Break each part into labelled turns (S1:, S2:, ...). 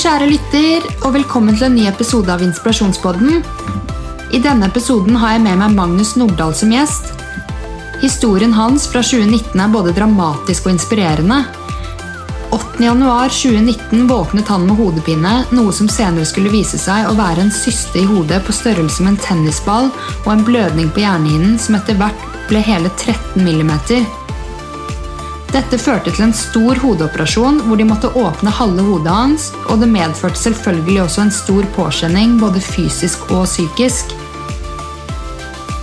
S1: Kjære lytter, og velkommen til en ny episode av Inspirasjonspodden. I denne episoden har jeg med meg Magnus Nordahl som gjest. Historien hans fra 2019 er både dramatisk og inspirerende. 8.1.2019 våknet han med hodepine, noe som senere skulle vise seg å være en syste i hodet på størrelse med en tennisball og en blødning på hjernehinnen som etter hvert ble hele 13 millimeter. Dette førte til en stor hodeoperasjon hvor de måtte åpne halve hodet hans, og det medførte selvfølgelig også en stor påkjenning, både fysisk og psykisk.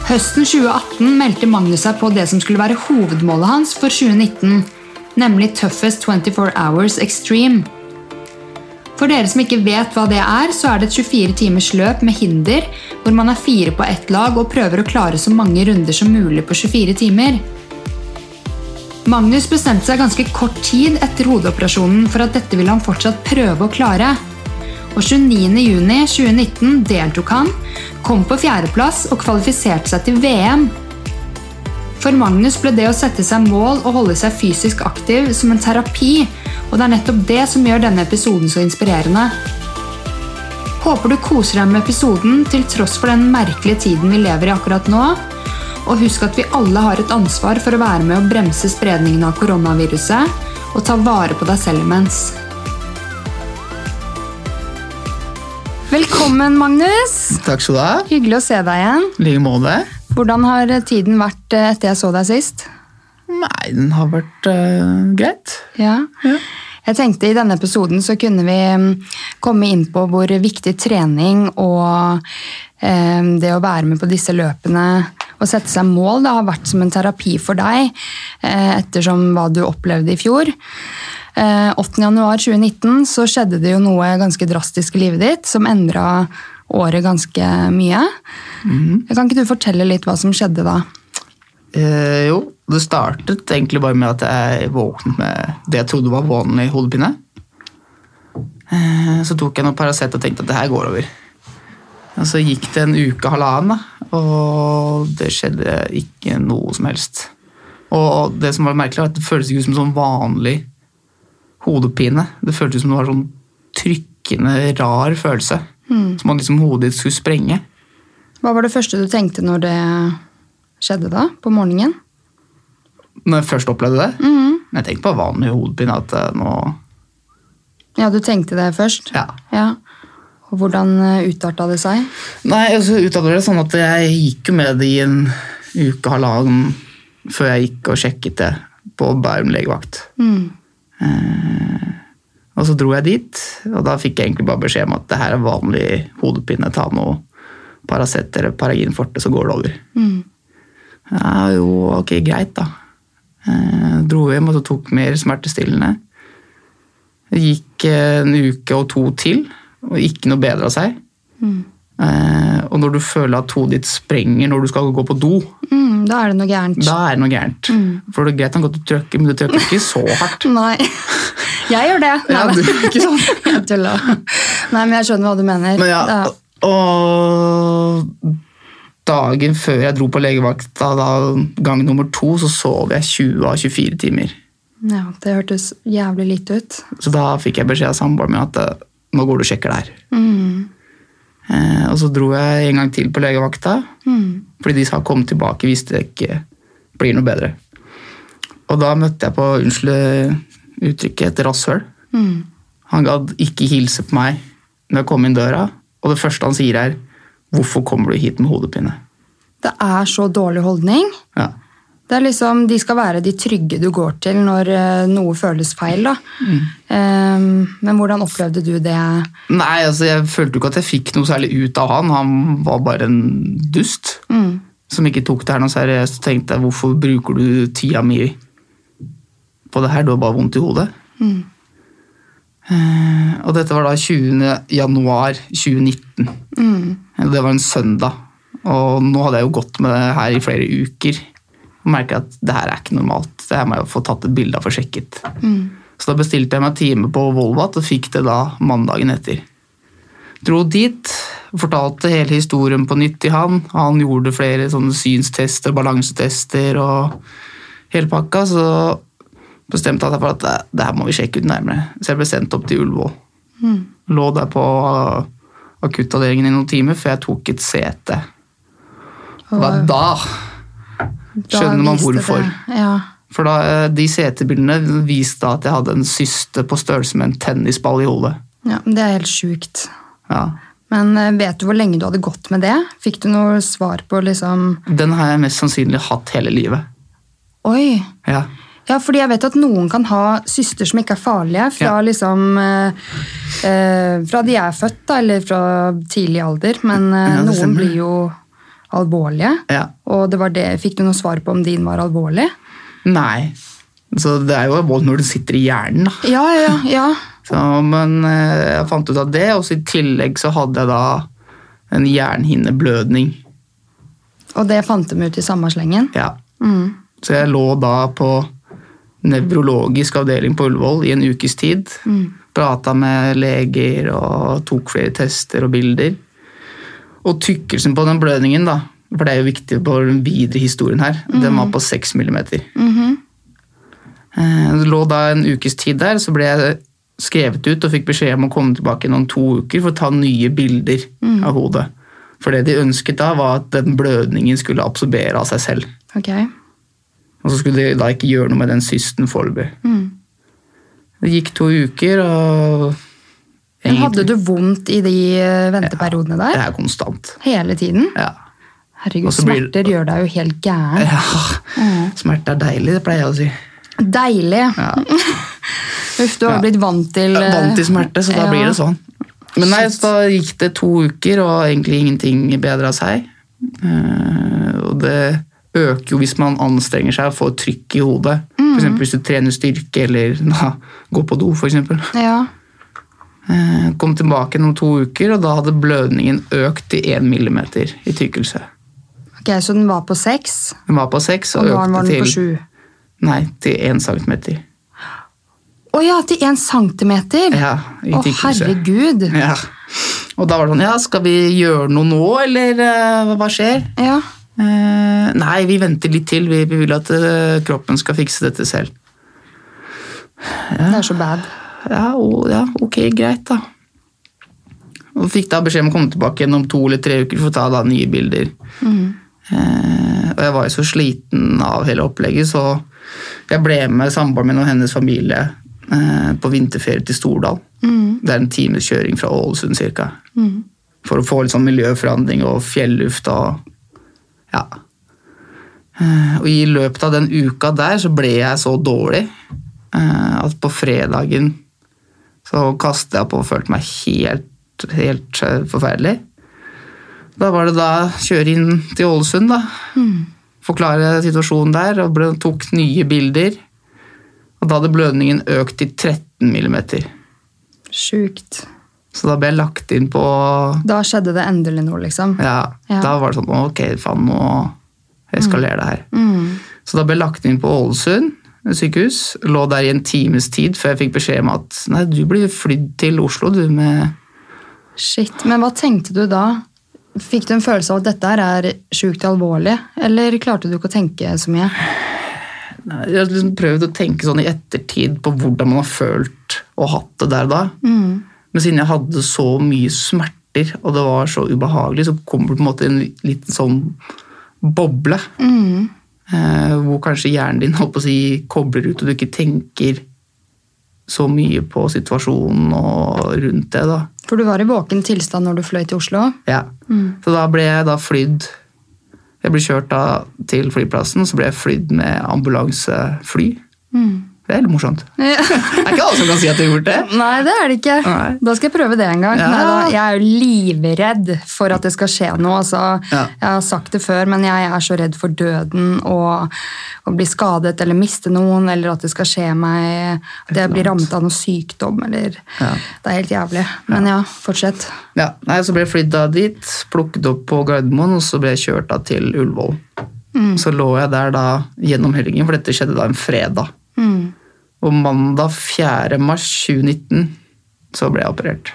S1: Høsten 2018 meldte Magnus seg på det som skulle være hovedmålet hans for 2019, nemlig Toughest 24 Hours Extreme. For dere som ikke vet hva det er, så er det et 24 timers løp med hinder, hvor man er fire på ett lag og prøver å klare så mange runder som mulig på 24 timer. Magnus bestemte seg ganske kort tid etter hodeoperasjonen for at dette ville han fortsatt prøve å klare. Og 29.6.2019 deltok han, kom på fjerdeplass og kvalifiserte seg til VM. For Magnus ble det å sette seg mål og holde seg fysisk aktiv som en terapi, og det er nettopp det som gjør denne episoden så inspirerende. Håper du koser deg med episoden til tross for den merkelige tiden vi lever i akkurat nå. Og husk at vi alle har et ansvar for å være med å bremse spredningen av koronaviruset, og ta vare på deg selv imens. Velkommen, Magnus.
S2: Takk skal du ha.
S1: Hyggelig å se deg igjen.
S2: I like måte.
S1: Hvordan har tiden vært eh, etter jeg så deg sist?
S2: Nei, den har vært eh, greit.
S1: Ja. Jeg tenkte i denne episoden så kunne vi mm, komme inn på hvor viktig trening og eh, det å være med på disse løpene og sette seg mål det har vært som en terapi for deg, eh, ettersom hva du opplevde i fjor. Eh, 8.1.2019 så skjedde det jo noe ganske drastisk i livet ditt som endra året ganske mye. Kan ikke du fortelle litt hva som skjedde da?
S2: Eh, jo, det startet egentlig bare med at jeg våknet med det jeg trodde var vanlig hodepine. Eh, så tok jeg noe Paracet og tenkte at det her går over. Og så gikk det en uke, halvannen, da, og det skjedde ikke noe som helst. Og det som var merkelig, var at det føltes ikke ut som sånn vanlig hodepine. Det føltes som det var sånn trykkende, rar følelse. Som om liksom hodet ditt skulle sprenge.
S1: Hva var det første du tenkte når det skjedde da, på morgenen?
S2: Når jeg først opplevde det. Jeg tenkte på vanlig hodepine. At eh, nå
S1: Ja, du tenkte det først?
S2: Ja.
S1: Og hvordan eh, utarta det seg?
S2: Nei, og så uttaler det sånn at jeg gikk jo med det i en uke halvannen før jeg gikk og sjekket det på Bærum legevakt.
S1: Mm,
S2: Eh, og så dro jeg dit, og da fikk jeg egentlig bare beskjed om at det her er vanlig hodepine. Ta noe Paracet eller Paragin forte, så går det over.
S1: mm,
S2: Ja, jo, ok, greit, da. Eh, dro hjem og så tok mer smertestillende. Det gikk eh, en uke og to til, og ikke noe bedre av seg. Eh, og når du føler at hodet ditt sprenger når du skal gå på do,
S1: Mm, da er det noe gærent.
S2: da er det noe gærent. For det er greit nok at du trykker, men du trykker ikke så hardt.
S1: Nei. Jeg gjør det. Nei,
S2: Ja,
S1: men-
S2: du, ikke sant?
S1: jeg tulla. Nei, men jeg skjønner hva du mener.
S2: Men ja,
S1: Da-
S2: og dagen før jeg dro på legevakta, da, gang nummer to, så sov jeg 20 av 24 timer.
S1: ja, det hørtes jævlig lite ut.
S2: Så da fikk jeg beskjed av samboeren min at eh, nå går du og sjekker det her.
S1: Mm,
S2: Eh, og så dro jeg en gang til på legevakta, fordi de sa kom tilbake hvis det ikke blir noe bedre. Og da møtte jeg på, unnskyld eh, uttrykket, et rasshøl.
S1: mm.
S2: Han gadd ikke hilse på meg når jeg kom inn døra, og det første han sier er 'Hvorfor kommer du hit med hodepine?'
S1: Det er så dårlig holdning.
S2: Ja.
S1: Det er liksom, De skal være de trygge du går til når eh, noe føles feil. da.
S2: Mm.
S1: Eh, men hvordan opplevde du det?
S2: Nei, altså jeg følte jo ikke at jeg fikk noe særlig ut av han. Han var bare en dust
S1: Mm,
S2: som ikke tok det her noe seriøst. Og tenkte jeg, hvorfor bruker du tida mi på det her? Du har bare vondt i hodet. Eh, og dette var da 20. januar 2019.
S1: mm,
S2: Det var en søndag. Og nå hadde jeg jo gått med det her i flere uker. Og merka at det her er ikke normalt. Det her må jeg få tatt et bilde av og sjekket.
S1: mm.
S2: Så da bestilte jeg meg time på Volvat og fikk det da mandagen etter. Dro dit, fortalte hele historien på nytt til han. Han gjorde flere sånne synstester, balansetester og hele pakka. Så bestemte han seg for at det, det her må vi sjekke ut nærmere. Så jeg ble sendt opp til Ullevål. Lå der på akuttavdelingen i noen timer før jeg tok et sete. Og da, da
S1: Da
S2: skjønner man
S1: viste det-
S2: hvorfor.
S1: Ja.
S2: For da, eh, de setebildene viste da at jeg hadde en syste på størrelse med en tennisball i hodet.
S1: ja, men Det er helt sjukt.
S2: Ja.
S1: Men eh, vet du hvor lenge du hadde gått med det? Fikk du noe svar på liksom
S2: Den har jeg mest sannsynlig hatt hele livet.
S1: Oi!
S2: Ja.
S1: Ja, fordi jeg vet at noen kan ha søster som ikke er farlige, fra
S2: Ja.
S1: liksom eh, eh, Fra de er født, da, eller fra tidlig alder, men eh,
S2: Ja, det
S1: noen
S2: stemmer.
S1: blir jo alvorlige.
S2: Ja.
S1: Og det var det, fikk du noe svar på om din var alvorlig?
S2: Nei. Så det er jo vold når den sitter i hjernen, da.
S1: Ja, ja, ja.
S2: Så, men eh, jeg fant ut av det, og så i tillegg så hadde jeg da en jernhinneblødning.
S1: Og det fant de ut i samme slengen?
S2: Ja.
S1: Mm.
S2: Så jeg lå da på nevrologisk avdeling på Ullevål i en ukes tid. Prata med leger og tok flere tester og bilder. Og tykkelsen på den blødningen, da, for det er jo viktig på den videre historien her, den var på 6 millimeter.
S1: Mhm.
S2: Eh, det lå da en ukes tid der, så ble jeg skrevet ut og fikk beskjed om å komme tilbake igjen om to uker for å ta nye bilder av hodet. For det de ønsket da, var at den blødningen skulle absorbere av seg selv.
S1: Ok.
S2: Og så skulle de da ikke gjøre noe med den systen foreløpig.
S1: Mm.
S2: Det gikk to uker, og
S1: Men hadde du vondt i de eh, venteperiodene
S2: Det
S1: der?
S2: er konstant.
S1: Hele tiden?
S2: Ja.
S1: Herregud,
S2: Og så blir-
S1: smerter gjør deg jo helt gæren.
S2: ja.
S1: Mm.
S2: Smerte er deilig, det pleier jeg å si.
S1: Deilig!
S2: Eh. Ja.
S1: Uff, du har
S2: Ja.
S1: blitt vant til
S2: Jeg er
S1: eh,
S2: vant til smerte, så da
S1: ja.
S2: blir det sånn. Men nei, så da gikk det to uker, og egentlig ingenting bedra seg. Eh, og det øker jo hvis man anstrenger seg og får trykk i hodet.
S1: Mm.
S2: For eksempel hvis du trener styrke eller da, går på do, for eksempel.
S1: Ja.
S2: Eh, kom tilbake om to uker, og da hadde blødningen økt til én millimeter i tykkelse.
S1: Ok, Så den var på seks,
S2: Den var på seks
S1: og
S2: og,
S1: nå var
S2: økte
S1: den på
S2: til
S1: sju?
S2: Nei, til én centimeter.
S1: Å ja, til én centimeter!
S2: Ja, i
S1: Å,
S2: tykkelse.
S1: herregud!
S2: Ja. Og da var det sånn, ja, skal vi gjøre noe nå, eller eh, hva skjer?
S1: Ja.
S2: Eh, nei, vi venter litt til. Vi, vi vil at eh, kroppen skal fikse dette selv.
S1: Det er så bad.
S2: Ja, o- ja, ok, greit da. Og fikk da beskjed om å komme tilbake igjen om to eller tre uker for å ta da nye bilder. Eh, og jeg var jo så sliten av hele opplegget, så jeg ble med samboeren min og hennes familie eh, på vinterferie til Stordal.
S1: Mm,
S2: Det er en times kjøring fra Ålesund cirka. For å få litt sånn miljøforandring og fjelluft og ja. Eh, Og i løpet av den uka der så ble jeg så dårlig eh, at på fredagen så kastet jeg på og følte meg helt, helt eh, forferdelig. Da var det da kjøre inn til Ålesund, da. Forklare situasjonen der, og ble, tok nye bilder. Og da hadde blødningen økt til 13 millimeter.
S1: Sjukt.
S2: Så da ble jeg lagt inn på
S1: Da skjedde det endelig noe, liksom.
S2: Ja,
S1: Ja.
S2: da var det sånn Ok, faen, nå eskalerer det her.
S1: Mm.
S2: Så da ble jeg lagt inn på Ålesund sykehus. Lå der i en times tid før jeg fikk beskjed om at nei, du blir flydd til Oslo, du, med
S1: Shit. Men hva tenkte du da? Fikk du en følelse av at dette her er sjukt alvorlig, eller klarte du ikke å tenke så mye?
S2: Nei, Jeg har liksom prøvd å tenke sånn i ettertid på hvordan man har følt og hatt det der da.
S1: Mm.
S2: Men siden jeg hadde så mye smerter, og det var så ubehagelig, så kom det på en måte en liten sånn boble.
S1: Mm.
S2: Eh, hvor kanskje hjernen din holdt på å si, kobler ut, og du ikke tenker så mye på situasjonen og rundt det. da.
S1: For du var i våken tilstand når du fløy til Oslo.
S2: Ja. Så da ble jeg da flydd Jeg ble kjørt da til flyplassen, så ble jeg flydd med ambulansefly. Det er litt morsomt. Det er ikke alle som kan si at de har gjort det.
S1: Nei, det er det ikke.
S2: Nei.
S1: Da skal jeg prøve det en gang.
S2: Ja.
S1: Neida, jeg er jo livredd for at det skal skje noe. Altså,
S2: Ja.
S1: Jeg har sagt det før, men jeg er så redd for døden og å bli skadet eller miste noen, eller at det skal skje meg At jeg blir rammet av noe sykdom, eller
S2: Ja.
S1: Det er helt jævlig. Men ja, fortsett.
S2: Ja, nei, Så ble jeg flydd da dit, plukket opp på Gardermoen, og så ble jeg kjørt da til Ullevål. Så lå jeg der da gjennom helgen, for dette skjedde da en fredag.
S1: Mm.
S2: Og mandag 4. mars 2019 så ble jeg operert.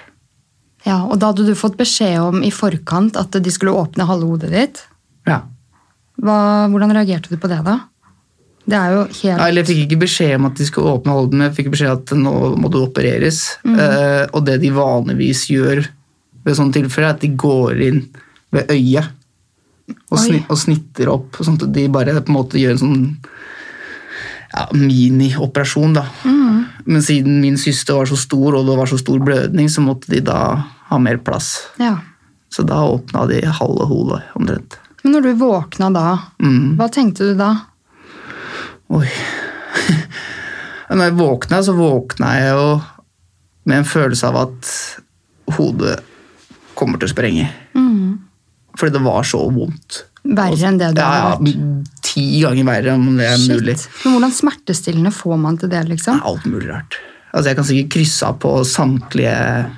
S1: Ja, Og da hadde du fått beskjed om i forkant at de skulle åpne halve hodet ditt.
S2: Ja.
S1: Hva, hvordan reagerte du på det, da? Det er jo
S2: Ja,
S1: helt
S2: eller jeg fikk ikke beskjed om at de skulle åpne Holden, men jeg fikk beskjed at nå må du opereres. Eh, og det de vanligvis gjør ved sånne tilfeller, er at de går inn ved øyet og,
S1: Oi.
S2: sni, og snitter opp, sånn at de bare på en måte gjør en sånn ja, minioperasjon, da. Men siden min syster var så stor, og det var så stor blødning, så måtte de da ha mer plass.
S1: Ja.
S2: Så da åpna de halve hodet, omtrent.
S1: Men når du våkna da,
S2: Mm.
S1: hva tenkte du da?
S2: Oi. Når jeg våkna, så våkna jeg jo med en følelse av at hodet kommer til å sprenge. Fordi det var så vondt.
S1: Verre enn det du
S2: Mm. ja,
S1: hadde vært?
S2: ja, ti ganger verre om det er mulig.
S1: Shit. Men hvordan smertestillende får man til det,
S2: Det
S1: liksom?
S2: er alt mulig rart. Altså, jeg kan sikkert krysse av på samtlige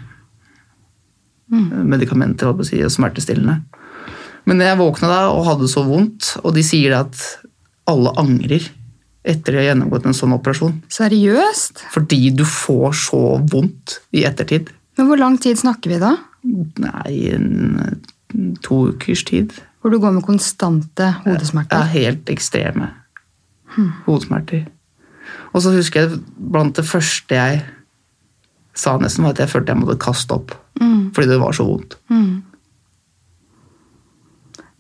S1: Mm.
S2: medikamenter holdt på å si, og smertestillende. Men jeg våkna da og hadde så vondt, og de sier det at alle angrer etter å ha gjennomgått en sånn operasjon.
S1: Seriøst?
S2: Fordi du får så vondt i ettertid.
S1: Men hvor lang tid snakker vi da?
S2: Nei, en, eh, to ukers tid.
S1: Hvor du går med konstante
S2: Det
S1: hodesmerter?
S2: er helt ekstreme hodesmerter. Og så husker jeg blant det første jeg sa nesten, var at jeg følte jeg måtte kaste opp. Fordi det var så vondt.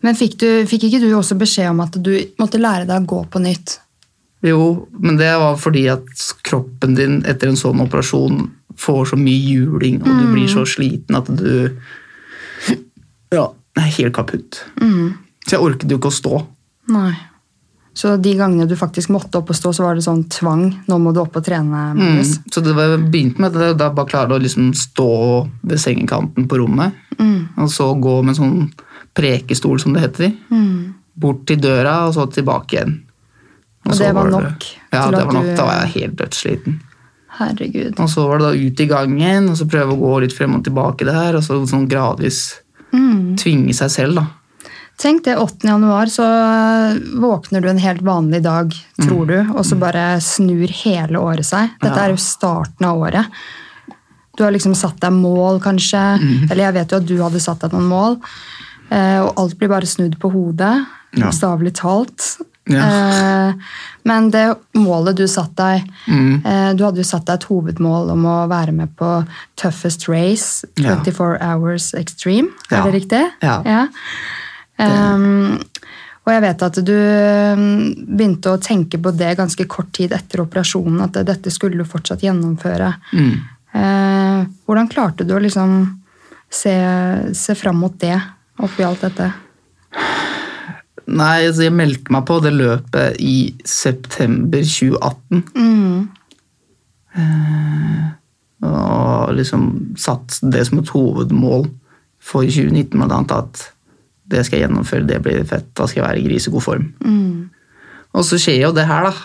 S1: Men fikk, du, fikk ikke du også beskjed om at du måtte lære deg å gå på nytt?
S2: Jo, men det var fordi at kroppen din etter en sånn operasjon får så mye juling, og du blir så sliten at du Ja, er helt kaputt. Så jeg orket jo ikke å stå.
S1: Nei. Så de gangene du faktisk måtte opp og stå, så var det sånn tvang? Nå må du opp og trene?
S2: Mm.
S1: Magnus.
S2: Så det var, begynte med at jeg da bare klarte å liksom stå ved sengekanten på rommet,
S1: Mm.
S2: og så gå med sånn prekestol, som det heter,
S1: Mm.
S2: bort til døra, og så tilbake igjen.
S1: Og
S2: så
S1: det var
S2: det-
S1: nok
S2: Ja,
S1: til
S2: det
S1: at
S2: var nok.
S1: du-
S2: Da var jeg helt dødssliten.
S1: Herregud.
S2: Og så var det da ut i gangen, og så prøve å gå litt frem og tilbake der, og så sånn gradvis
S1: Mm.
S2: tvinge seg selv, da.
S1: Tenk det, 8. januar så eh, våkner du en helt vanlig dag,
S2: Mm.
S1: tror du, og så bare snur hele året seg. Dette er jo starten av året. Du har liksom satt deg mål, kanskje,
S2: Mhm.
S1: eller jeg vet jo at du hadde satt deg noen mål, eh, og alt blir bare snudd på hodet,
S2: Ja.
S1: bokstavelig talt.
S2: Ja.
S1: Eh, Men det målet du satt deg,
S2: Mhm.
S1: eh, du hadde jo satt deg et hovedmål om å være med på Toughest Race,
S2: Ja.
S1: 24 Hours Extreme,
S2: Ja.
S1: er det riktig?
S2: Ja.
S1: ja. Ehm, og jeg vet at du mm, begynte å tenke på det ganske kort tid etter operasjonen, at dette skulle du fortsatt gjennomføre. Eh, hvordan klarte du å liksom se, se fram mot det oppi alt dette?
S2: Nei, altså jeg meldte meg på det løpet i september 2018.
S1: Mm,
S2: Eh, og liksom satt det som et hovedmål for 2019, blant annet at det skal jeg gjennomføre, det blir fett, da skal jeg være i grisegod form. Og så skjer jo det her, da
S1: mm.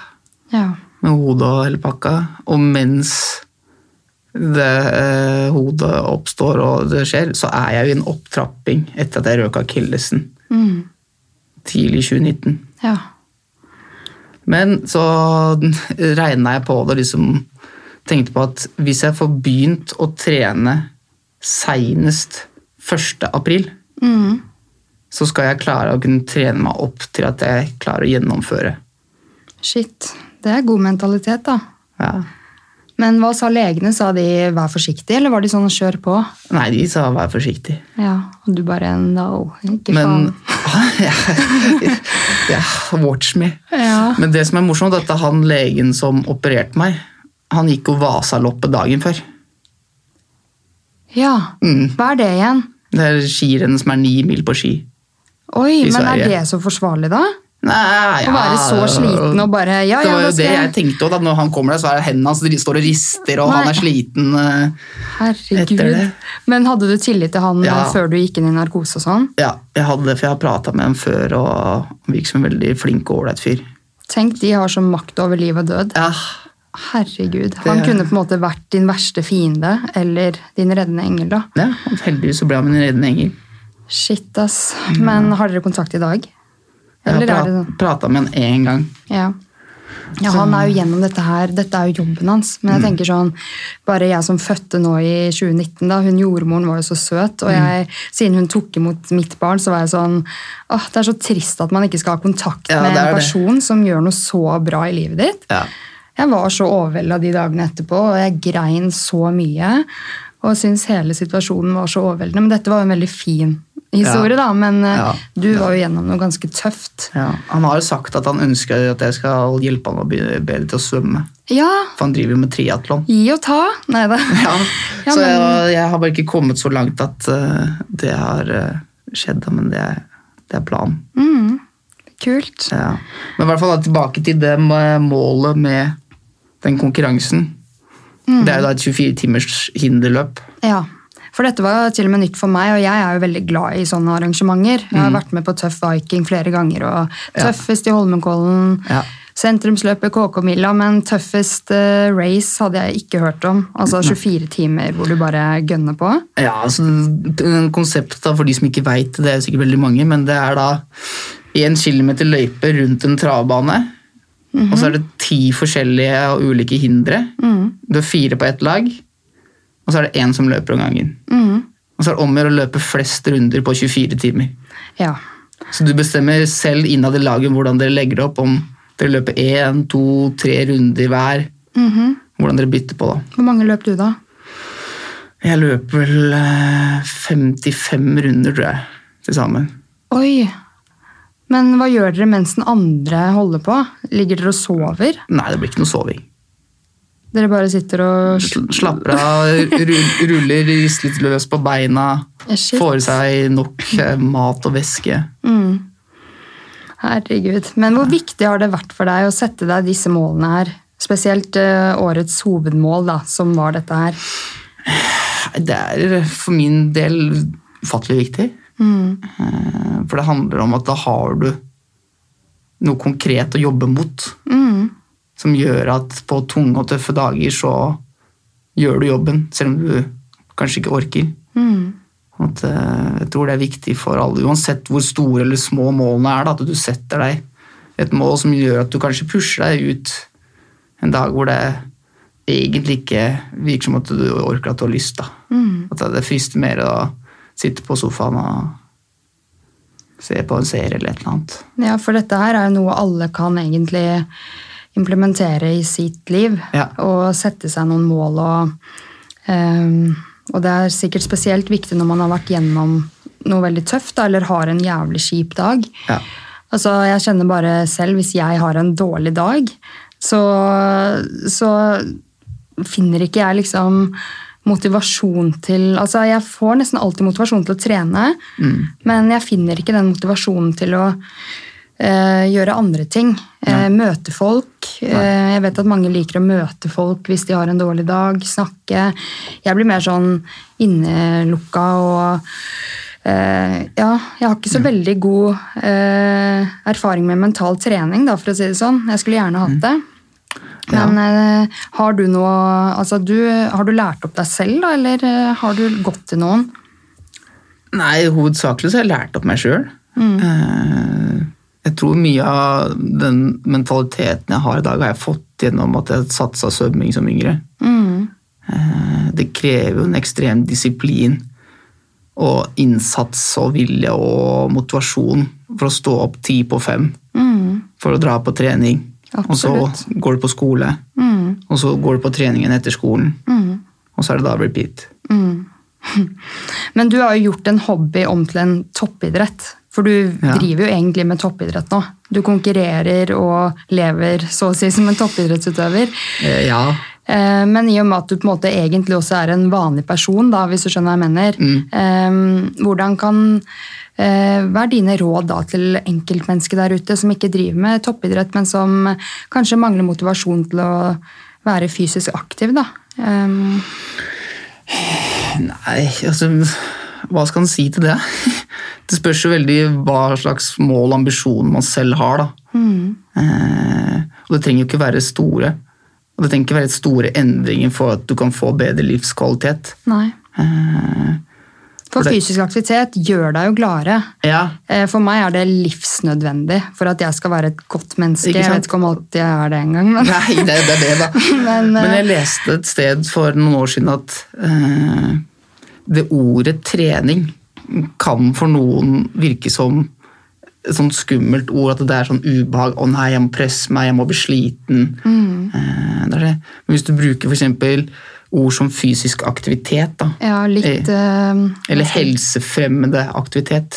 S1: Ja.
S2: med hodet og hele pakka. Og mens det eh, hodet oppstår og det skjer, så er jeg jo i en opptrapping etter at jeg røk akillesen tidlig i 2019.
S1: Mm. ja.
S2: Men så regna jeg på det og liksom tenkte på at hvis jeg får begynt å trene seinest 1. april,
S1: Mm.
S2: så skal jeg klare å kunne trene meg opp til at jeg klarer å gjennomføre.
S1: Shit. Det er god mentalitet, da.
S2: Ja.
S1: Men hva sa legene? Sa de 'vær forsiktig', eller var de sånn 'kjør på'?
S2: Nei, de sa vær forsiktig.
S1: Ja, Og du bare 'no', ikke
S2: Men
S1: faen.
S2: ja, ja, watch me.
S1: Ja.
S2: Men det som er morsomt, er at han legen som opererte meg, han gikk og vasaloppet dagen før.
S1: Ja.
S2: Mm.
S1: Hva er det igjen?
S2: Det er skirennet som er ni mil på ski.
S1: Oi,
S2: I
S1: men
S2: Sverige.
S1: er det så forsvarlig, da?
S2: Nei,
S1: Å være så sliten og bare, ja,
S2: Det
S1: ja,
S2: var jo
S1: nå skal
S2: det jeg
S1: jeg-
S2: tenkte òg. Når han kommer der, så er det hendene hans de står og rister, og
S1: Nei.
S2: han er sliten. eh, Etter
S1: Herregud.
S2: det.
S1: Men hadde du tillit til han
S2: Ja.
S1: eh, før du gikk inn i narkose og sånn?
S2: Ja, jeg hadde det, for jeg har prata med ham før, og han virker som en veldig flink og ålreit fyr.
S1: Tenk, de har sånn makt over liv og død.
S2: Ja,
S1: Herregud. Han kunne på en måte vært din verste fiende, eller din reddende engel, da.
S2: ja, og heldigvis så ble han min reddende engel.
S1: Shit, ass. Men har dere kontakt i dag?
S2: Jeg
S1: Eller er
S2: har
S1: det sånn?
S2: prata med han én gang.
S1: Ja. Ja, han er jo gjennom dette her. Dette er jo jobben hans. Men
S2: Mm.
S1: jeg tenker sånn, bare jeg som fødte nå i 2019, da, hun jordmoren var jo så søt. Og jeg,
S2: Mm.
S1: siden hun tok imot mitt barn, så var jeg sånn åh, Det er så trist at man ikke skal ha kontakt
S2: Ja,
S1: med
S2: det er
S1: en
S2: det.
S1: person som gjør noe så bra i livet ditt.
S2: Ja.
S1: Jeg var så overvelda de dagene etterpå, og jeg grein så mye. Og syntes hele situasjonen var så overveldende. Men dette var jo en veldig fin historie, da. Men eh,
S2: Ja.
S1: du var jo gjennom noe ganske tøft.
S2: Ja. Han har jo sagt at han ønsker at jeg skal hjelpe han å bli bedre til å svømme.
S1: Ja,
S2: For han driver jo med triatlon.
S1: Gi og ta. Nei da.
S2: Ja.
S1: Ja,
S2: så
S1: men-
S2: jeg, jeg har bare ikke kommet så langt at eh, det har eh, skjedd, da, men det er, det er planen.
S1: Mm, kult.
S2: Ja. Men i hvert fall da, tilbake til det med målet med den konkurransen. Det er jo da et 24 timers hinderløp.
S1: Ja. For dette var jo til og med nytt for meg, og jeg er jo veldig glad i sånne arrangementer. Jeg
S2: Mm.
S1: har vært med på Tøff Viking flere ganger, og tøffest i Holmenkollen.
S2: Ja.
S1: Sentrumsløpet KK-milla, men tøffest eh, race hadde jeg ikke hørt om. Altså 24 timer hvor du bare gønner på.
S2: Ja, altså den- Konseptet da, for de som ikke veit det, det er jo sikkert veldig mange, men det er da én kilometer løype rundt en travbane. Og så er det ti forskjellige og ulike hindre.
S1: Mm.
S2: Du har fire på ett lag, og så er det én som løper om gangen.
S1: Mhm.
S2: Og så er det om å gjøre å løpe flest runder på 24 timer.
S1: Ja.
S2: Så du bestemmer selv innad i laget hvordan dere legger det opp, om dere løper én, to, tre runder hver.
S1: Mhm.
S2: Hvordan dere bytter på, da.
S1: Hvor mange løp du, da?
S2: Jeg løper vel eh, 55 runder, tror jeg, til sammen.
S1: Oi! Men hva gjør dere mens den andre holder på? Ligger dere og sover?
S2: Nei, det blir ikke noe soving.
S1: Dere bare sitter og
S2: Sl- Slapper av, ru- ruller, rister litt løs på beina.
S1: Ja, shit.
S2: Får i seg nok eh, mat og væske.
S1: Mm. Herregud. Men hvor viktig har det vært for deg å sette deg disse målene her? Spesielt eh, årets hovedmål, da, som var dette her.
S2: Nei, Det er eh, for min del ufattelig viktig.
S1: Mm.
S2: Eh, For det handler om at da har du noe konkret å jobbe mot.
S1: Mm.
S2: Som gjør at på tunge og tøffe dager så gjør du jobben, selv om du kanskje ikke orker.
S1: Mm.
S2: At, eh, jeg tror det er viktig for alle, uansett hvor store eller små målene er, da, at du setter deg et mål som gjør at du kanskje pusher deg ut en dag hvor det egentlig ikke virker som at du orker at du har lyst. Da.
S1: Mm.
S2: At det frister mer å sitte på sofaen og se på en serie eller et eller annet.
S1: Ja, for dette her er jo noe alle kan egentlig implementere i sitt liv.
S2: Ja.
S1: Og sette seg noen mål og ehm, Og det er sikkert spesielt viktig når man har vært gjennom noe veldig tøft, da, eller har en jævlig kjip dag.
S2: Ja.
S1: Altså, jeg kjenner bare selv, hvis jeg har en dårlig dag, så, så finner ikke jeg liksom motivasjon til Altså, jeg får nesten alltid motivasjon til å trene,
S2: Mm.
S1: men jeg finner ikke den motivasjonen til å eh, gjøre andre ting. Eh, møte folk. Eh, jeg vet at mange liker å møte folk hvis de har en dårlig dag. Snakke. Jeg blir mer sånn innelukka og eh, Ja, jeg har ikke så veldig god eh, erfaring med mental trening, da, for å si det sånn. Jeg skulle gjerne hatt det.
S2: Ja.
S1: Men eh, har du noe altså du, Har du lært opp deg selv, da, eller eh, har du gått til noen?
S2: Nei, hovedsakelig så har jeg lært opp meg sjøl.
S1: Mm.
S2: Jeg tror mye av den mentaliteten jeg har i dag, har jeg fått gjennom at jeg satsa svømming som yngre.
S1: Mm.
S2: Eh, Det krever jo en ekstrem disiplin og innsats og vilje og motivasjon for å stå opp ti på fem
S1: Mm.
S2: for å dra på trening. Og
S1: Absolutt.
S2: så går du på skole,
S1: Mm.
S2: og så går du på treningen etter skolen,
S1: Mm.
S2: og så er det da repeat.
S1: Mm. Men du har jo gjort en hobby om til en toppidrett. For du
S2: Ja.
S1: driver jo egentlig med toppidrett nå. Du konkurrerer og lever så å si som en toppidrettsutøver.
S2: Eh, Ja,
S1: Eh, Men i og med at du på en måte egentlig også er en vanlig person, da, hvis du skjønner hva jeg mener, eh, hvordan kan eh, Hva er dine råd da til enkeltmennesket der ute som ikke driver med toppidrett, men som kanskje mangler motivasjon til å være fysisk aktiv, da? Eh,
S2: Nei, altså Hva skal en si til det? Det spørs jo veldig hva slags mål og ambisjon man selv har, da. Eh, og det trenger jo ikke være store. Og det trenger ikke være store endringer for at du kan få bedre livskvalitet.
S1: Nei.
S2: Eh,
S1: For
S2: For det-
S1: fysisk aktivitet gjør deg jo gladere.
S2: Ja,
S1: Eh, For meg er det livsnødvendig for at jeg skal være et godt menneske.
S2: Ikke
S1: Jeg
S2: sant?
S1: vet ikke om alltid jeg er det engang, men
S2: Nei, det, det er det, da.
S1: Men, eh,
S2: Men jeg leste et sted for noen år siden at eh, det ordet trening kan for noen virke som et sånt skummelt ord. At det er sånn ubehag. 'Å nei, jeg må presse meg, jeg må bli sliten'.
S1: Mm.
S2: Eh, det er det. Men hvis du bruker f.eks. ord som fysisk aktivitet, da.
S1: ja, litt
S2: Eh,
S1: eh,
S2: Eller helsefremmende aktivitet.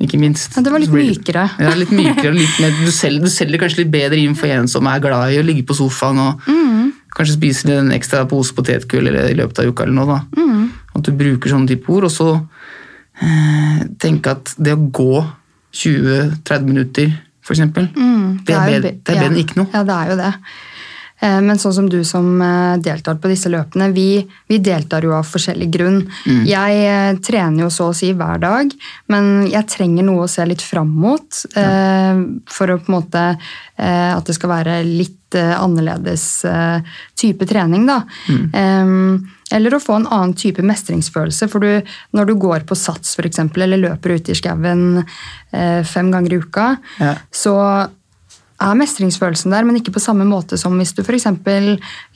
S2: Ikke minst.
S1: Mm. Ja, det var litt
S2: Så blir-
S1: mykere.
S2: Ja, litt mykere og litt mer, du, selger, du selger kanskje litt bedre inn for en som er glad i å ligge på sofaen og
S1: Mm.
S2: kanskje spise litt en ekstra pose potetgull eller i løpet av uka eller noe. Da.
S1: Mm.
S2: At du bruker sånne type ord, og så eh, tenke at det å gå 20-30 minutter, for eksempel, det, er
S1: Mm, jo
S2: bedre,
S1: be-
S2: det er bedre
S1: ja.
S2: enn ikke noe.
S1: Ja, det er jo det. Eh, Men sånn som du som eh, deltar på disse løpene, vi, vi deltar jo av forskjellig grunn.
S2: Mm.
S1: Jeg eh, trener jo så å si hver dag, men jeg trenger noe å se litt fram mot. eh, For å på en måte eh, at det skal være litt eh, annerledes eh, type trening, da.
S2: Mm.
S1: Eh, Eller å få en annen type mestringsfølelse. For du, når du går på sats for eksempel, eller løper ute i skauen eh, fem ganger i uka,
S2: Ja.
S1: så er mestringsfølelsen der, men ikke på samme måte som hvis du f.eks.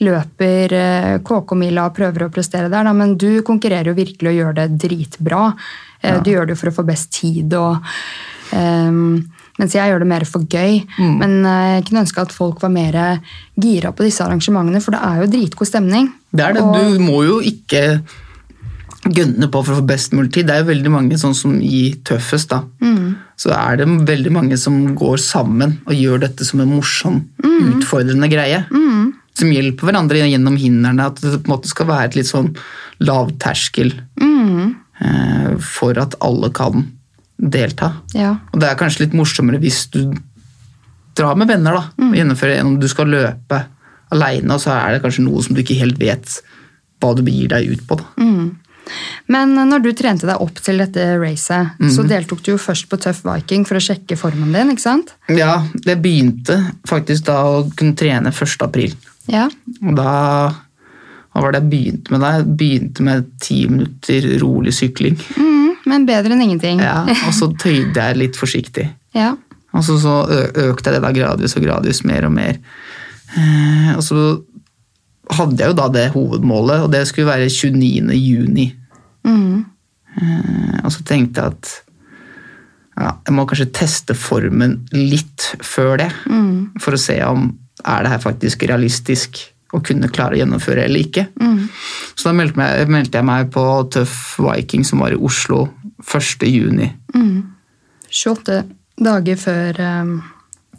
S1: løper eh, KK-mila og prøver å prestere der, da, men du konkurrerer jo virkelig og gjør det dritbra. Eh, Du gjør det jo for å få best tid og ehm, Mens jeg gjør det mer for gøy.
S2: Mm.
S1: Men eh, jeg kunne ønske at folk var mer gira på disse arrangementene, for det er jo dritgod stemning.
S2: Det er det.
S1: Og-
S2: Du må jo ikke gønne på for å få best mulig tid. Det er jo veldig mange, sånn som i Tøffest, da. Så er det veldig mange som går sammen og gjør dette som en morsom, utfordrende greie. Som hjelper hverandre gjennom hindrene. At det på en måte skal være et litt sånn lavterskel eh, for at alle kan delta.
S1: Ja.
S2: Og det er kanskje litt morsommere hvis du drar med venner da, og gjennomfører en om du skal løpe alene, og så er det kanskje noe som du ikke helt vet hva du begir deg ut på. Da.
S1: Men eh, når du trente deg opp til dette racet, så
S2: Mhm.
S1: deltok du jo først på Tøff Viking for å sjekke formen din, ikke sant?
S2: Ja, det begynte faktisk da å kunne trene 1. april.
S1: Ja.
S2: Og da hva var det jeg begynte med da? Jeg begynte med ti minutter rolig sykling.
S1: Mm, men bedre enn ingenting.
S2: Ja, og så tøyde jeg litt forsiktig.
S1: Ja.
S2: Og så, så ø- økte jeg det da gradvis og gradvis mer og mer. Eh, og så hadde jeg jo da det hovedmålet, og det skulle være 29. juni.
S1: Mm.
S2: Eh, og så tenkte jeg at ja, jeg må kanskje teste formen litt før det, for å se om er det her faktisk realistisk å kunne klare å gjennomføre eller ikke. Så da meldte, meg, meldte jeg meg på Tøff Viking som var i Oslo 1. juni.
S1: 28 dager før um,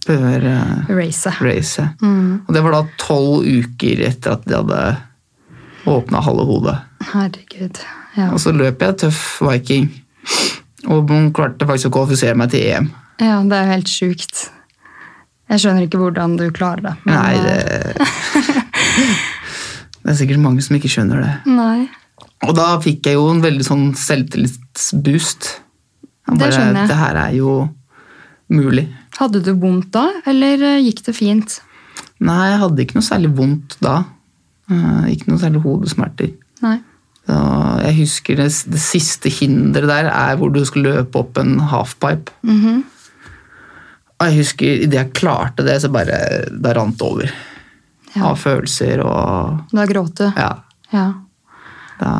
S2: Før, eh,
S1: racet.
S2: racet.
S1: Mm.
S2: Og det var da tolv uker etter at de hadde åpna halve hodet.
S1: Herregud. Ja.
S2: Og så løp jeg tøff Viking. Og hun klarte faktisk å kvalifisere meg til EM.
S1: ja, det er jo helt sjukt. Jeg skjønner ikke hvordan du klarer det. men,
S2: Nei, det
S1: eh,
S2: Det er sikkert mange som ikke skjønner det.
S1: Nei,
S2: Og da fikk jeg jo en veldig sånn selvtillitsboost. Jeg
S1: Det skjønner jeg.
S2: Det her er jo mulig.
S1: Hadde du vondt da, eller eh, gikk det fint?
S2: Nei, jeg hadde ikke noe særlig vondt da. Eh, Ikke noe særlig hodesmerter.
S1: Nei.
S2: Så jeg husker det, det siste hinderet der er hvor du skal løpe opp en halfpipe.
S1: Mhm.
S2: Og jeg husker idet jeg klarte det, så bare Det rant over.
S1: Ja.
S2: Av følelser og
S1: Da gråt du.
S2: Ja.
S1: Ja.
S2: Da,